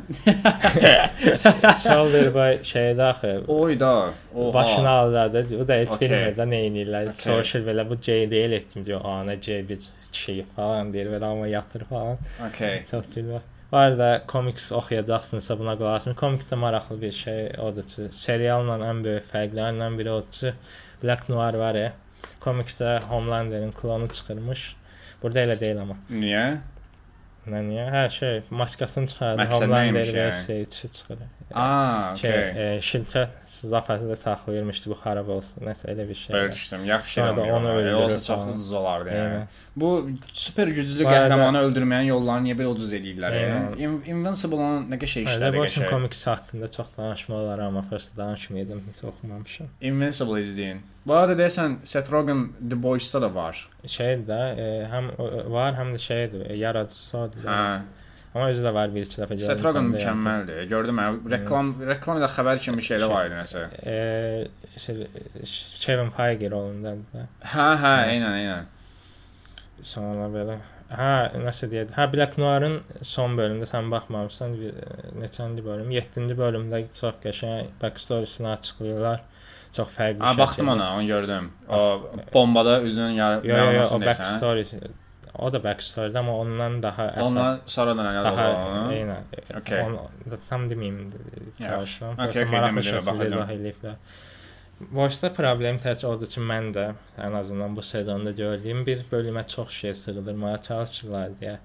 S1: <laughs>
S2: Soldier və şeydə axı.
S1: Oy da. Oha.
S2: Başını aldadır. Bu da heç
S1: Okey.
S2: bilmir də nə edirlər.
S1: Okey.
S2: Soruşur belə bu C deyil etdim diyor. Ana C bir şey falan deyir belə amma yatır falan.
S1: Okey.
S2: Çox gülür. Var da komiks oxuyacaqsınızsa buna qulaq asın. Komiks də maraqlı bir şey odur ki, serialla ən böyük fərqlərindən biri odur ki, Black Noir var ya. Komiksdə Homelander'in klonu çıxırmış. Burada elə deyil amma.
S1: Niyə?
S2: Nə niyə? Hər şey maskasını çıxardı.
S1: Məqsəd
S2: Homelander
S1: nəymiş
S2: və
S1: yəni?
S2: şey çıxır.
S1: Aa, okey.
S2: Şey, e, Şimşək zafası da saxlayırmışdı bu xarab olsun. Nəsə elə bir şey.
S1: Belə
S2: var.
S1: düşdüm. Yaxşı
S2: Sonra da
S1: şeydir. Onu
S2: onu
S1: öldürür.
S2: öldürür
S1: Olsa çox
S2: falan.
S1: ucuz olardı yəni.
S2: Eynən.
S1: Bu süper güclü
S2: Var da-
S1: qəhrəmanı öldürməyin yollarını niyə belə ucuz eləyirlər? yəni?
S2: Eynən.
S1: In- Invincible olan nə qədər şey
S2: Hələ
S1: işlədi
S2: Watson
S1: qəşəng.
S2: komiks haqqında çox danışmaq olar, amma first danışmaydım, heç oxumamışam.
S1: Invincible izləyin. Bu arada deyəsən Seth Rogen The Boys-da da var.
S2: Şey də e, həm e, var, həm də şeydir, e, yaradıcısı odur.
S1: Hə.
S2: Amma özü də var bir iki dəfə
S1: Seth Rogen mükəmməldir. Gördüm mən reklam reklam da xəbər kimi şeylə var idi nəsə.
S2: Eee, E, şey, Kevin Feige rolundan da.
S1: Hə, hə, eynən, eynən.
S2: Sonra belə Hə, nəsə deyirdi. Hə, Black Noir-ın son bölümündə sən baxmamısan, bir- e, neçənci bölüm? 7-ci bölümdə çox qəşəng backstory-sini açıqlayırlar. Çox fərqli
S1: A baxdım
S2: şəkildə.
S1: ona, onu gördüm. O bombada üzünün yar-
S2: Yo, yo, yo, o
S1: yarılmasını deyəsən.
S2: backstory. O da backstory amma ondan daha əsas.
S1: Ondan sonra da nə oldu?
S2: daha e,
S1: onu?
S2: eynən.
S1: Okey.
S2: Onu da tam deməyim çalışıram.
S1: Okey,
S2: Prosta
S1: okey,
S2: maraqlı
S1: demə, demə,
S2: şəkildə
S1: baxacağam.
S2: izah eləyiblər. Boşda problem təkcə odur ki, mən də ən azından bu sezonda gördüyüm bir bölümə çox şey sığdırmağa çalışırlar deyə.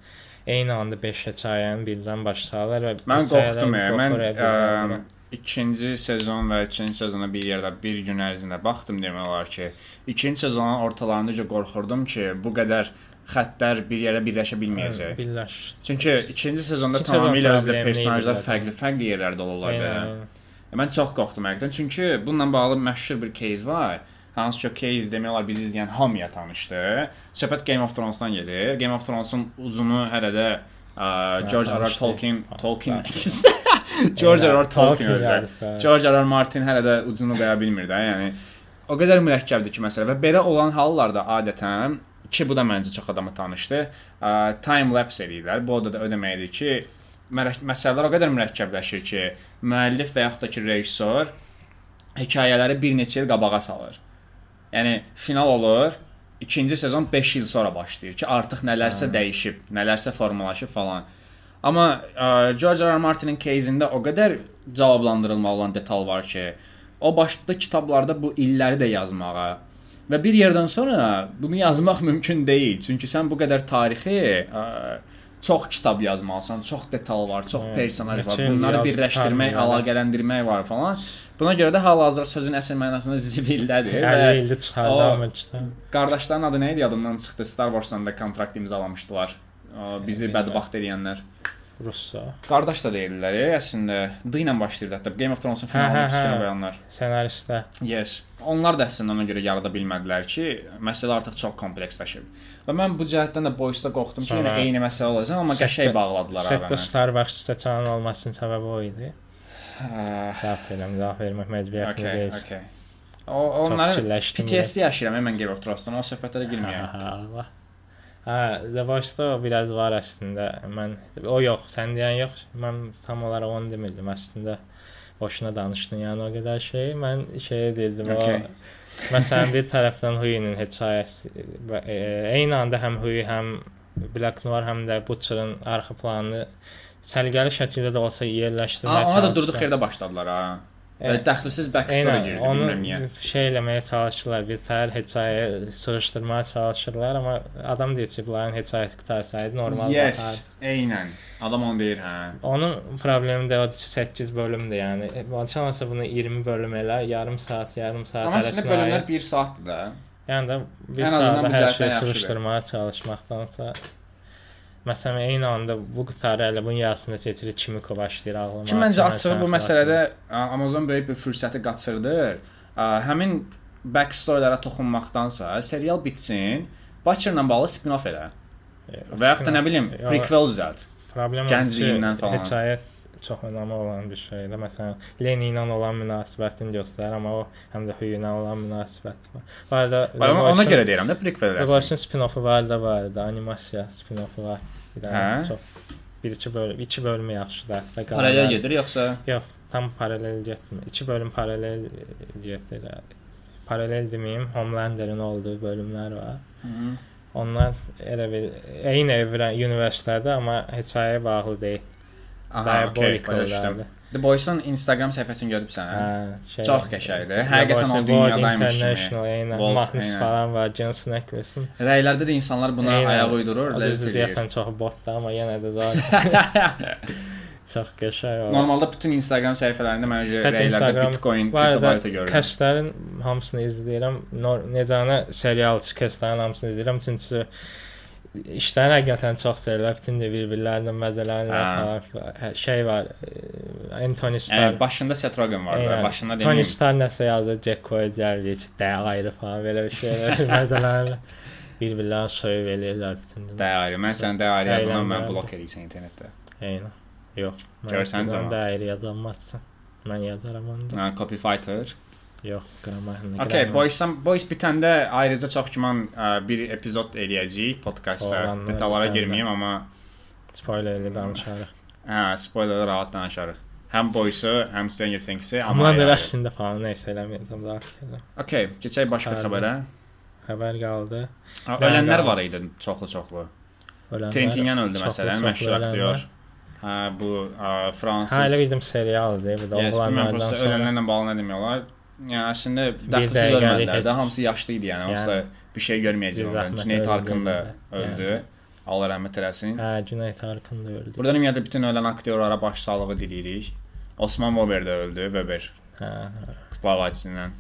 S2: Eyni anda 5-ə çayan birdən başlarlar və
S1: Mən
S2: bu çaylar
S1: qorxdum ya. Hmm. Mən
S2: qorxur
S1: əm,
S2: əvvəldən.
S1: ikinci sezon və üçüncü sezona bir yerdə bir gün ərzində baxdım demək olar ki, ikinci sezonun ortalarındaca qorxurdum ki, bu qədər xəttlər bir yerə birləşə bilməyəcək.
S2: Birləş.
S1: Çünki ikinci sezonda
S2: İkinci sezon
S1: tamamilə özdə
S2: problemli idi
S1: personajlar
S2: zaten.
S1: fərqli-fərqli yerlərdə olurlar da.
S2: Eynən.
S1: E, Mən çox qorxdum həqiqətən. Çünki bununla bağlı məşhur bir кейs var. Hansı ki o кейs demək olar bizi izləyən hamıya tanışdı. Söhbət Game of Thrones-dan gedir. Game of Thrones-un ucunu hələ də ə, George R.R.
S2: tanışdı.
S1: Tolkien, Tolkien
S2: Eynən,
S1: <laughs> George R.R. Tolkien özəl.
S2: yazıb, hə.
S1: George R.R. Martin hələ də ucunu qoya bilmir də, yəni o qədər mürəkkəbdir ki, məsələ və belə olan hallarda adətən ki, bu da məncə çox adamı tanışdı. ə, Time lapse eləyirlər. Bu da, da ödəməkdir ki, mərə- məsələlər o qədər mürəkkəbləşir ki, müəllif və yaxud da ki, rejissor hekayələri bir neçə il qabağa salır. Yəni final olur. İkinci sezon 5 il sonra başlayır ki, artıq nələrsə hə. e, dəyişib, nələrsə formalaşıb falan. Amma ə, George R. R. Martinin кейsində o qədər cavablandırılma olan detal var ki, o başlıqda kitablarda bu illəri də yazmağa və bir yerdən sonra bunu yazmaq <laughs> mümkün deyil. Çünki sən bu qədər tarixi ə, çox kitab yazmalısan, çox detal var, çox
S2: Hə,
S1: personaj var.
S2: neçə il
S1: Bunları
S2: yazıb
S1: birləşdirmək,
S2: qurtarmıyor, hə.
S1: əlaqələndirmək var falan. Buna görə də hal-hazırda sözün əsl <laughs> mənasında zibildədir və
S2: 50 ildir çıxardamır kitab.
S1: qardaşların adı nə idi yadımdan çıxdı. Star Wars-dan da kontrakt imzalamışdılar. Ə, Bizi
S2: Bilmirəm.
S1: bədbəxt edənlər.
S2: Russo.
S1: Qardaş da deyirlər, e, əslində D ilə başlayırdı hətta Game of Thrones-un
S2: hə,
S1: finalını üstünə
S2: hə.
S1: qoyanlar.
S2: Senaristə.
S1: Yes. Onlar da əslində ona görə yarada bilmədilər ki, məsələ artıq çox kompleksləşib. Və mən bu cəhətdən də boyusda qorxdum ki,
S2: Sonra-
S1: yenə eyni məsələ olacaq, amma
S2: Setdə-
S1: qəşəng bağladılar
S2: Setdə
S1: ağanı.
S2: Starbucks stəkanın olmasının səbəbi o idi.
S1: Hə,
S2: Cavab verəm, cavab vermək məcburiyyətində
S1: Okay,
S2: deyilsin.
S1: okay. O onların
S2: fikirləşdim belə.
S1: PTSD yaşayıram mən Game of Thrones-dan, o söhbətlərə
S2: <laughs>
S1: girməyəm.
S2: Allah. Hə, The Voice-da o biraz var əslində. Mən o yox, sən deyən yox. Mən tam olaraq onu demirdim əslində. Boşuna danışdın yəni o qədər şey. Mən şey deyirdim
S1: Okay.
S2: e o. Məsələn bir tərəfdən Huey-nin hekayəsi və, e, eyni anda həm Huey, həm Black Noir, həm də Butcher-ın arxa planını səliqəli şəkildə də olsa yerləşdirmək.
S1: Aa, Ona da durduq yerdə başladılar ha. Və
S2: Evet.
S1: Dəxilsiz backstory
S2: Eynən,
S1: girdi,
S2: onu
S1: bilmirəm niyə.
S2: şey eləməyə çalışırlar, bir tər hekayəyə sığışdırmağa çalışırlar, amma adam deyir ki, bunların hekayəsi qutarsaydı normal
S1: Yes,
S2: baxardı.
S1: eynən. Adam onu deyir, hə.
S2: Onun problemi də odur ki, 8 bölümdür, yəni. Başa olsa bunu 20 bölüm elə, yarım saat, yarım saat
S1: Amma əslində
S2: arasına
S1: bölümlər
S2: ayır.
S1: 1 saatdır da.
S2: Yəni də bir
S1: Ən azından
S2: saatda
S1: bu
S2: hər
S1: cəhətdən
S2: şeyi
S1: yaxşıdır.
S2: sığışdırmağa çalışmaqdansa Məsələn, eyni anda bu qutarı elə bunun yarısında keçirir, Kimiko başlayır ağlamağa.
S1: Ki məncə
S2: sonra
S1: açığı bu
S2: sən
S1: məsələdə ə, Amazon böyük bir fürsəti qaçırdır. Ə, Həmin backstorylərə toxunmaqdansa serial bitsin, Butcher-la bağlı spin-off elə.
S2: xəlasə-
S1: Və yaxud da nə bilim,
S2: Ya-
S1: prequel düzəlt.
S2: Problem
S1: Gəncliyindən falan.
S2: Hekayət çox önəmli olan bir şey şeydir. Məsələn, Leni ilə olan münasibətini göstərir, amma o həm də Huey ilə olan münasibəti var. Var da
S1: Bax, Ona ona görə deyirəm də prequel
S2: The
S1: eləsin.
S2: Boys-un spin-offu var da var da, animasiya spin-offu var. Bir
S1: Hə?
S2: dənə çox bir iki bölüm, iki bölümü yaxşıdır. hətta qalan-
S1: Paralel gedir yoxsa?
S2: Yox, tam paralel getmir. İki bölüm paralel e, getdir. Paralel deməyim, Homelander'ın olduğu bölümlər var.
S1: Hı.
S2: Onlar elə bir eyni evrən universitetdə, amma hekayəyə bağlı deyil.
S1: Aha, okey,
S2: Diabolical
S1: başa The Boys-un Instagram səhifəsini görübsən? Hə.
S2: şey,
S1: Çox qəşəngdir. Həqiqətən o dünyadaymış kimi.
S2: kimi.
S1: Vault,
S2: Mahnısı
S1: eynən.
S2: falan var, Jens Necklace-in.
S1: Rəylərdə də insanlar buna
S2: Eynən.
S1: ayaq uydurur,
S2: Düzdür
S1: ləzzət
S2: deyəsən çox botdur, amma yenə də zor. çox qəşəng var.
S1: <laughs> Normalda bütün Instagram səhifələrində məncə
S2: Hətta
S1: rəylərdə
S2: Instagram-
S1: Bitcoin,
S2: Var da,
S1: kriptovalyuta görürəm.
S2: kəslərin hamısını izləyirəm. Nor- Necanə serial çıxır, kəslərin hamısını izləyirəm. Çünki işlərin həqiqətən çox sevirlər. Bütün də bir-birlərindən
S1: Hə.
S2: məzələnirlər falan. Hə, Şey var, e, Anthony Starr.
S1: Yəni başında Seth Rogen var da,
S2: Eynən.
S1: başında
S2: Tony
S1: deməyim.
S2: Starr nəsə yazır, Jack Quaid gəlir, ki, də ayrı falan belə bir
S1: <laughs>
S2: şeylər mədələrlə bir-birlərini soyub eləyirlər bütün.
S1: Dəyəri. Mən sənə dəyəri yazandan mən
S2: Əylənmə.
S1: blok eləyirsən internetdə.
S2: Eyni. Yox. mən
S1: Görsən
S2: bundan
S1: cəmaat.
S2: Də ayrı yazılmazsan. Mən yazaram onu. Da.
S1: Ha, copy fighter.
S2: Yox, qramahını.
S1: Okay, boysam boys bitəndə ayrıca çox güman ə, bir uh, epizod eləyəcəyik podkastda.
S2: Olanlar
S1: Detallara
S2: bitəndə.
S1: girməyim amma
S2: spoiler ilə danışarıq.
S1: hə, spoilerə rahat danışarıq. Həm boysu, həm Stranger Things-i amma.
S2: Amma da
S1: ayrı-ayrı.
S2: əslində falan nəsə eləmirəm daha. şeylər.
S1: Okay, keçək başqa
S2: Ayrı.
S1: xəbərə.
S2: Xəbər qaldı.
S1: Ha,
S2: Mən
S1: Ölənlər
S2: qaldım.
S1: var idi, çoxlu-çoxlu.
S2: Ölənlər-
S1: Trentinyan öldü
S2: çoxlu-
S1: məsələn,
S2: çoxlu
S1: məşhur
S2: ölənlər.
S1: aktryor. Hə, bu ə,
S2: Hə, elə
S1: fransız.
S2: bildim serialdır, bu da
S1: Yes, mən
S2: oğlanlardan
S1: prosta
S2: sonra.
S1: ölənlərlə bağlı nə demək Yəni əslində
S2: dəqiqəlik
S1: dəxilsiz ölmədilər
S2: heç-
S1: də, hamısı yaşlı idi yəni.
S2: Yəni,
S1: Onsuz da bir şey görməyəcək
S2: bir
S1: ondan.
S2: zəhmət
S1: Cüneyt
S2: öldü
S1: Arkın da
S2: yəni.
S1: öldü. Allah rəhmət eləsin.
S2: Hə, Cüneyt Arkın da öldü.
S1: Buradan ümumiyyətlə bütün ölən aktyorlara başsağlığı diləyirik. Osman Weber də öldü, Weber
S2: Hə, hə.
S1: qutlar vadisindən.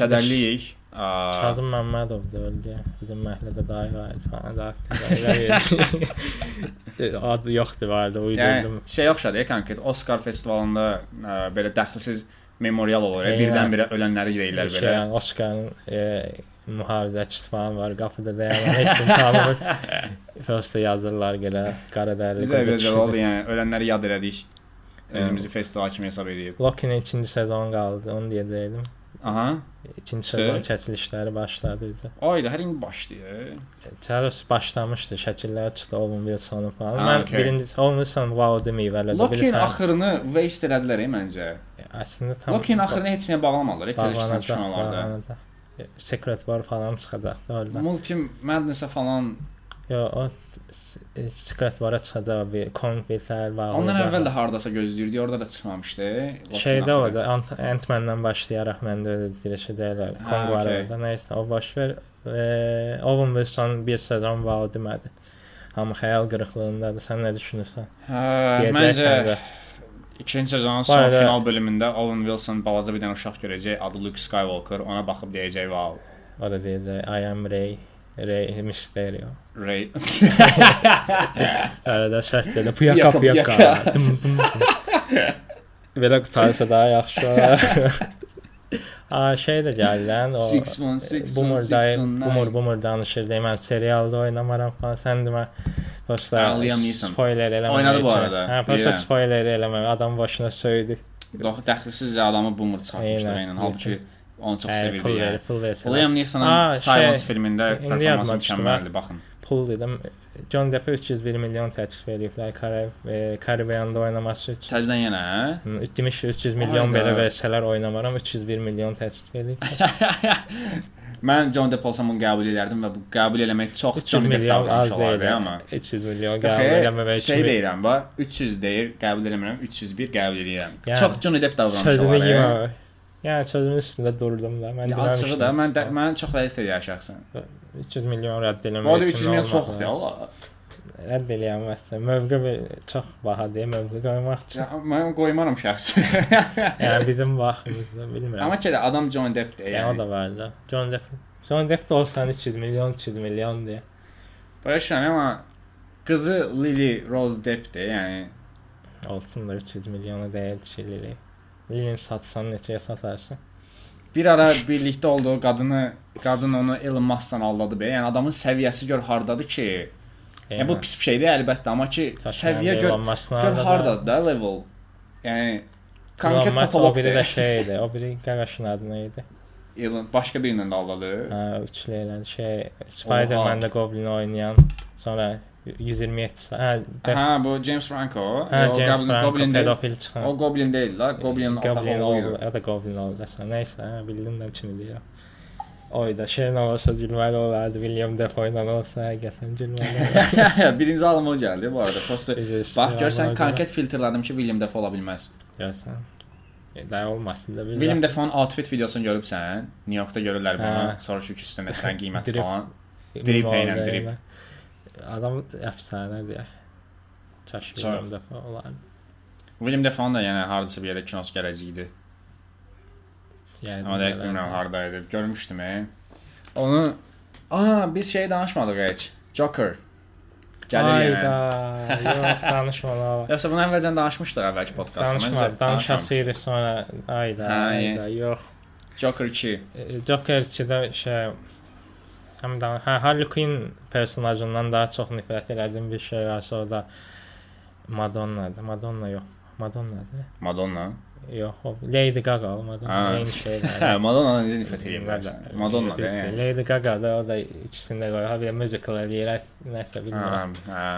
S1: Kədərliyik. Aa,
S2: Kazım Məmmədov da öldü. Bizim məhəllədə dayı var idi falan <laughs> da. Elə bir- Adı yoxdur vardı, uydurdum.
S1: Yəni şey oxşadı, konkret Oscar festivalında ə, belə dəxilsiz memorial olur.
S2: Eynən.
S1: Ə, birdən-birə ölənləri
S2: yəni Bir
S1: deyirlər
S2: şey,
S1: belə.
S2: yəni Oscar'ın e, mühafizəçisi falan var, qapıda dayanan, heç kim tanımır. Prosta yazırlar gələ, qara dərli.
S1: Bizə
S2: qoca
S1: belə
S2: kişidir.
S1: oldu yəni ölənləri yad elədik.
S2: Yəni.
S1: Özümüzü festival kimi hesab edib.
S2: Loki-nin ikinci sezonu qaldı, onu deyəcəydim.
S1: Aha.
S2: İkinci
S1: Çıxır.
S2: sezon çəkilişləri başladı bizdə.
S1: Ayda hər il başlayır.
S2: Çərəs başlamışdı, şəkillər çıxdı Owen Wilson falan.
S1: Ha,
S2: Mən
S1: okey.
S2: birinci Owen Wilson wow deməyib elə də
S1: Lokin axırını waste elədilər e, məncə.
S2: Əslində tam
S1: Lokin axırını heç nəyə bağlamadılar, e, televizyon
S2: bağlanacaq,
S1: kanallarda.
S2: bağlanacaq. Secret War falan çıxacaq da öyle.
S1: Multi Madness-ə falan
S2: Yo, o e, Skratlara çıxacaq bir konvertlər var.
S1: Ondan əvvəl də hardasa gözləyirdi, orada da çıxmamışdı. Lockdown
S2: şeydə
S1: axırı.
S2: orada Ant- Ant-Man-dan başlayaraq məndə öyle dirəşə deyirlər.
S1: Ha,
S2: Kong var
S1: okey.
S2: orada. Nəysə o baş ver. E, Owen Wilson bir sezon var o demədi. Amma xəyal qırıqlığındadır. Sən nə düşünürsən?
S1: Hə, məncə
S2: Deyəcəksən də.
S1: ikinci sezonun son
S2: arada-
S1: final bölümündə Owen Wilson balaca bir dənə uşaq görəcək, adı Luke Skywalker, ona baxıb deyəcək, "Wow,
S2: O da deyəcək I am Rey. Rey Mysterio. <laughs>
S1: Rey."
S2: Arada səs dedi. Puyaka
S1: Puyaka,
S2: puyaka.
S1: puyaka.
S2: Dım, dım, dım. Belə qutarsa daha yaxşı olar. Aa, şey də gəldi lan o.
S1: 616,
S2: Boomer day,
S1: 619.
S2: Boomer Boomer danışırdı. Mən serialda oynamaram falan. Sən demə. Dostlar,
S1: Ha, Liam Neeson.
S2: spoiler eləmə.
S1: Oynadı bu arada.
S2: Hə, prosta
S1: Bilirəm.
S2: spoiler eləmə. Adam başına söydü.
S1: Yox, dəxilsizcə adamı boomer çıxartmışdı
S2: Eynən.
S1: eynən. Halbuki onu çox
S2: Hə,
S1: sevirdi.
S2: pul
S1: yəni.
S2: verir, pul verir.
S1: Liam
S2: Aa,
S1: Neeson'ın
S2: şey,
S1: Silence filmində
S2: indi
S1: performansı
S2: yadıma düşdü,
S1: mükəmməldir, baxın.
S2: pul dedim. John Depp'ə 301 milyon təklif veriblər Karib e, Karibiyanda oynaması üçün.
S1: Təzədən yenə, hə?
S2: Hmm, Demiş 300 milyon
S1: Ayda.
S2: belə versələr oynamaram 301 milyon təklif edib.
S1: Mən John Depp olsam bunu qəbul edərdim və bu qəbul eləmək çox
S2: 300
S1: John Depp
S2: milyon az
S1: davranış
S2: deyil.
S1: olardı amma.
S2: 300 milyon qəbul
S1: Yox,
S2: eləməmək
S1: şey
S2: kimi.
S1: deyirəm va, 300 deyir, qəbul eləmirəm, 301 qəbul edirəm.
S2: Yəni,
S1: Çox John Depp davranış
S2: Sözünü
S1: olardı. hə?
S2: yemə. Yəni sözün üstündə durdum da. Mən
S1: Ya, Açığı da mən də, mən çox rəis deyirəm şəxsən.
S2: 300 milyon rədd eləmək.
S1: Bu arada
S2: kimi
S1: 300 milyon
S2: olmaz
S1: çoxdur
S2: da.
S1: Allah.
S2: Rədd eləyəməzsən. Mövqe bir- çox bahadır, mövqe qoymaq üçün.
S1: Ya, Mən qoymaram
S2: <laughs>
S1: şəxsən.
S2: Yəni bizim vaxtımızda bilmirəm.
S1: Amma ki də adam John Deppdir.
S2: Yəni o
S1: Yəni.
S2: da var da. John Depp. John Depp də olsan 300 milyon, 300 milyon deyə.
S1: Başan amma qızı Lily Rose Deppdir. Yəni
S2: Olsun da 300 milyona dəyər çililik. Lilin satsan neçəyə satarsan?
S1: bir ara birlikdə olduğu qadını qadın onu Elon Musk'dan aldadı be. Yəni adamın səviyyəsi gör hardadır ki. Yəni bu pis bir şeydir əlbəttə, amma ki səviyyə gör gör hardadır da level. Yəni konkret
S2: patolog. O biri <laughs> də
S1: patologdur.
S2: şey idi. O biri qaraşın adı nə idi?
S1: Elon başqa birindən də aldadı.
S2: Hə, üçləyən şey Spider-Man-də Goblin oynayan. Sonra 127 sa- hə, də-
S1: Hə, bu James Franco.
S2: hə,
S1: O
S2: James
S1: Goblin-
S2: Franco
S1: Goblin deyil.
S2: pedofil çıxan.
S1: O Goblin deyil la, Goblin
S2: Goblin oldu.
S1: atalı
S2: Ya da Goblin oldu. Neyse ha, bildin de kimi diyor. Oyda şeyin olsa gülməli olardı. William Defoe ilə olsa həqiqətən
S1: <laughs>
S2: gülməli olardı.
S1: <laughs> Birinci alma gəldi bu arada. Prosta
S2: Biz
S1: Bax
S2: işte
S1: görsən
S2: şey ona
S1: konkret filtrlədim ki, William Defoe ola bilməz.
S2: görə- Görsən. E, Daha olmasın da bir.
S1: William Defoe'nun outfit videosunu görübsən? New Yorkda görürlər bunu.
S2: Hə.
S1: Soruşur ki, üstündə sən
S2: <laughs>
S1: qiymət
S2: Drip.
S1: falan.
S2: Defoe
S1: drip
S2: oldu
S1: eynən, drip.
S2: elə. Adam əfsanədir. ya. Kaş
S1: Sonra-
S2: William Defoe olardı.
S1: William Defoe'nun da yəni hardasa bir yerdə kinos gələcəyi idi.
S2: Yəni
S1: Amma dəqiq
S2: belə-
S1: bilmirəm harda idi. Görmüşdüm. e. Onu Aa, biz şey danışmadıq heç. Joker. Gəlir yəni.
S2: Hayda.
S1: <laughs>
S2: Yox danışmalı.
S1: Yoxsa bunu əvvəlcən danışmışdıq əvvəlki podkastımızda.
S2: Danışma, şey. danışasıydı sonra. Ayda.
S1: Ha,
S2: Ayda. Yox.
S1: Joker 2.
S2: E, Joker 2-də şey həm də hə, Harley Quinn personajından daha çox nifrət elədiyim bir şey varsa o da Madonna'dır. Madonna yox. Madonna'dır.
S1: Madonna.
S2: Yox, o Lady Gaga o Madonna
S1: Ha.
S2: eyni
S1: <laughs>
S2: şey.
S1: Hə, Madonna necə nifrət eləyirlər? Madonna da. yəni.
S2: Lady Gaga da o da ikisində qoyur. Ha bir də musical eləyir, nəsə
S1: Hə,
S2: bilmirəm.
S1: hə.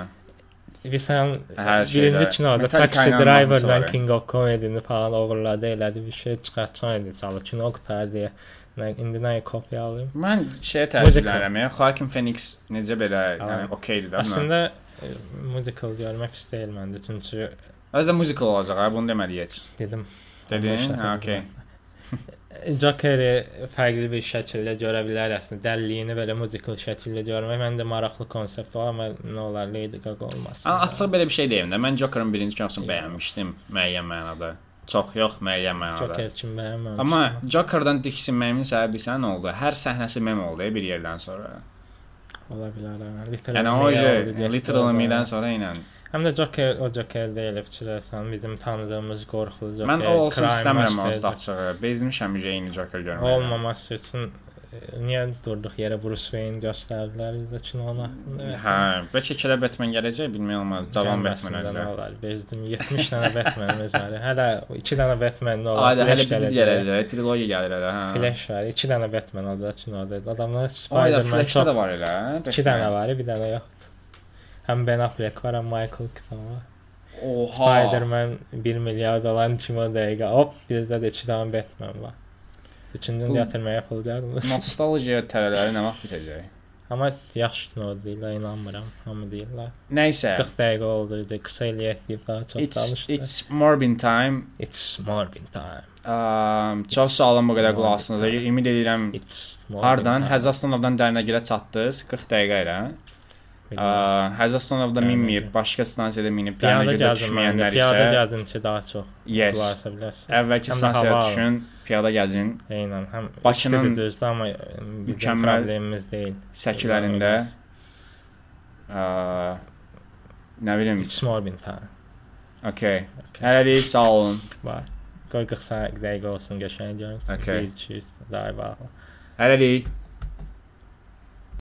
S2: Bilirsən,
S1: Hər şeydə.
S2: birinci kinoda
S1: Ah, Metallica ilə
S2: Taxi
S1: mahnısı var,
S2: Driver-dan
S1: hə.
S2: King of Comedy-ni falan oğurladı, elədi bir şey çıxartsan idi çalı. Kino qutar deyə. Nə- İndi nəyə kopya alayım?
S1: Mən şeyə
S2: Musical.
S1: təəccüblənirəm. yəni, şey Joaquin Phoenix necə belə, yəni okeydir də. bunlar.
S2: Əslində e, musical görmək istəyil məndə. Çünki
S1: Özə musical olacaq, ha, bunu deməliyik heç.
S2: dedim.
S1: Dedin?
S2: Ondan
S1: Hə,
S2: işlədim.
S1: okey.
S2: Jokeri fərqli bir şəkildə görə bilər əslində. Dəlliyini belə musical şəkildə görmək məndə maraqlı konsept var, amma nə olar Lady Gaga olmasın.
S1: Amma açıq belə bir şey deyim də, mən Joker-ın birinci kinosunu
S2: Yox.
S1: bəyənmişdim müəyyən mənada. Çox yox, müəyyən mənada.
S2: Joker kimi bəyənməmişəm.
S1: Amma Joker-dan tiksinməyimin səbəbi isə nə oldu? Hər səhnəsi mem oldu bir yerdən sonra.
S2: ola bilər. hə. Literal
S1: Yəni o
S2: Me oldu
S1: je
S2: deyək,
S1: literal
S2: ola bilər.
S1: me-dən sonra ilə.
S2: Həm də Joker o Joker deyil, fikirləsən bizim tanıdığımız qorxulu Joker.
S1: Mən o olsun
S2: crime
S1: istəmirəm
S2: master- Oh,
S1: onsuz da açığı. Bezmişəm uh, Jane Joker görməyə.
S2: Olmaması üçün e, niyə durduq yerə Bruce Wayne göstərdilər biz də kinona?
S1: Hə, bəlkə kilə Batman eh? gələcək, bilmək olmaz. Cavan Batman özü.
S2: özləri. Bezdim 70 dənə Batmanimiz var. Hələ 2 dənə Batman nə olar?
S1: Ayda hələ
S2: Flash eh?
S1: bir gələcək, trilogiya gəlir hələ, hə.
S2: Flash var. 2 dənə Batman oda kinoda. Adamlar
S1: Ayda
S2: Spider-Man
S1: Flash-də
S2: çox
S1: də var elə.
S2: 2 dənə var, bir dənə yoxdur. Həm Ben Affleck var, həm Michael Keaton var.
S1: Oha.
S2: Spider-Man 1 milyard olan kimi o dəqiqə. Hop, bizdə də 2 dənə Batman var. Üçüncünü
S1: Bu-
S2: gətirməyə pul gəlmir.
S1: Nostalgiya tərələri nə vaxt bitəcək?
S2: Amma yaxşı kino deyirlər, inanmıram. Hamı deyirlər.
S1: Nəysə,
S2: 40 dəqiqə oldu, idi, qısa eləyək deyib daha çox
S1: it's,
S2: danışdı. It's,
S1: it's Morbin time.
S2: Morbid time.
S1: Um, çox
S2: It's
S1: sağ olun bu qədər
S2: Morbin
S1: qulaq asdınız.
S2: time.
S1: Ümid edirəm
S2: It's Morbid
S1: hardan
S2: time.
S1: Həzəstanovdan Dərnəgirə çatdınız 40 dəqiqə ilə.
S2: Bilmirəm.
S1: Uh, Həzəstanovda
S2: Dərnəgir.
S1: minməyib, başqa stansiyada minib
S2: Piyada
S1: Dərnəgirdə
S2: gəzin, məndə.
S1: düşməyənlər
S2: piyada
S1: isə
S2: gəzin ki, daha çox
S1: yes.
S2: qularsa bilərsən.
S1: Əvvəlki
S2: Həm də
S1: stansiyaya
S2: hava alın.
S1: düşün, piyada gəzin,
S2: Eynən, həm
S1: Bakının
S2: Bakının düzdür, amma e, bizim
S1: mükəmməl
S2: problemimiz deyil.
S1: səkilərində ə, nə bilim,
S2: It's Morbid time.
S1: okey. Hələlik sağ olun.
S2: Var. Qoy 40 dəqiqə olsun, qəşəng görünsün.
S1: Okay.
S2: Bir, iki, üç, daha bağlı.
S1: Hələlik.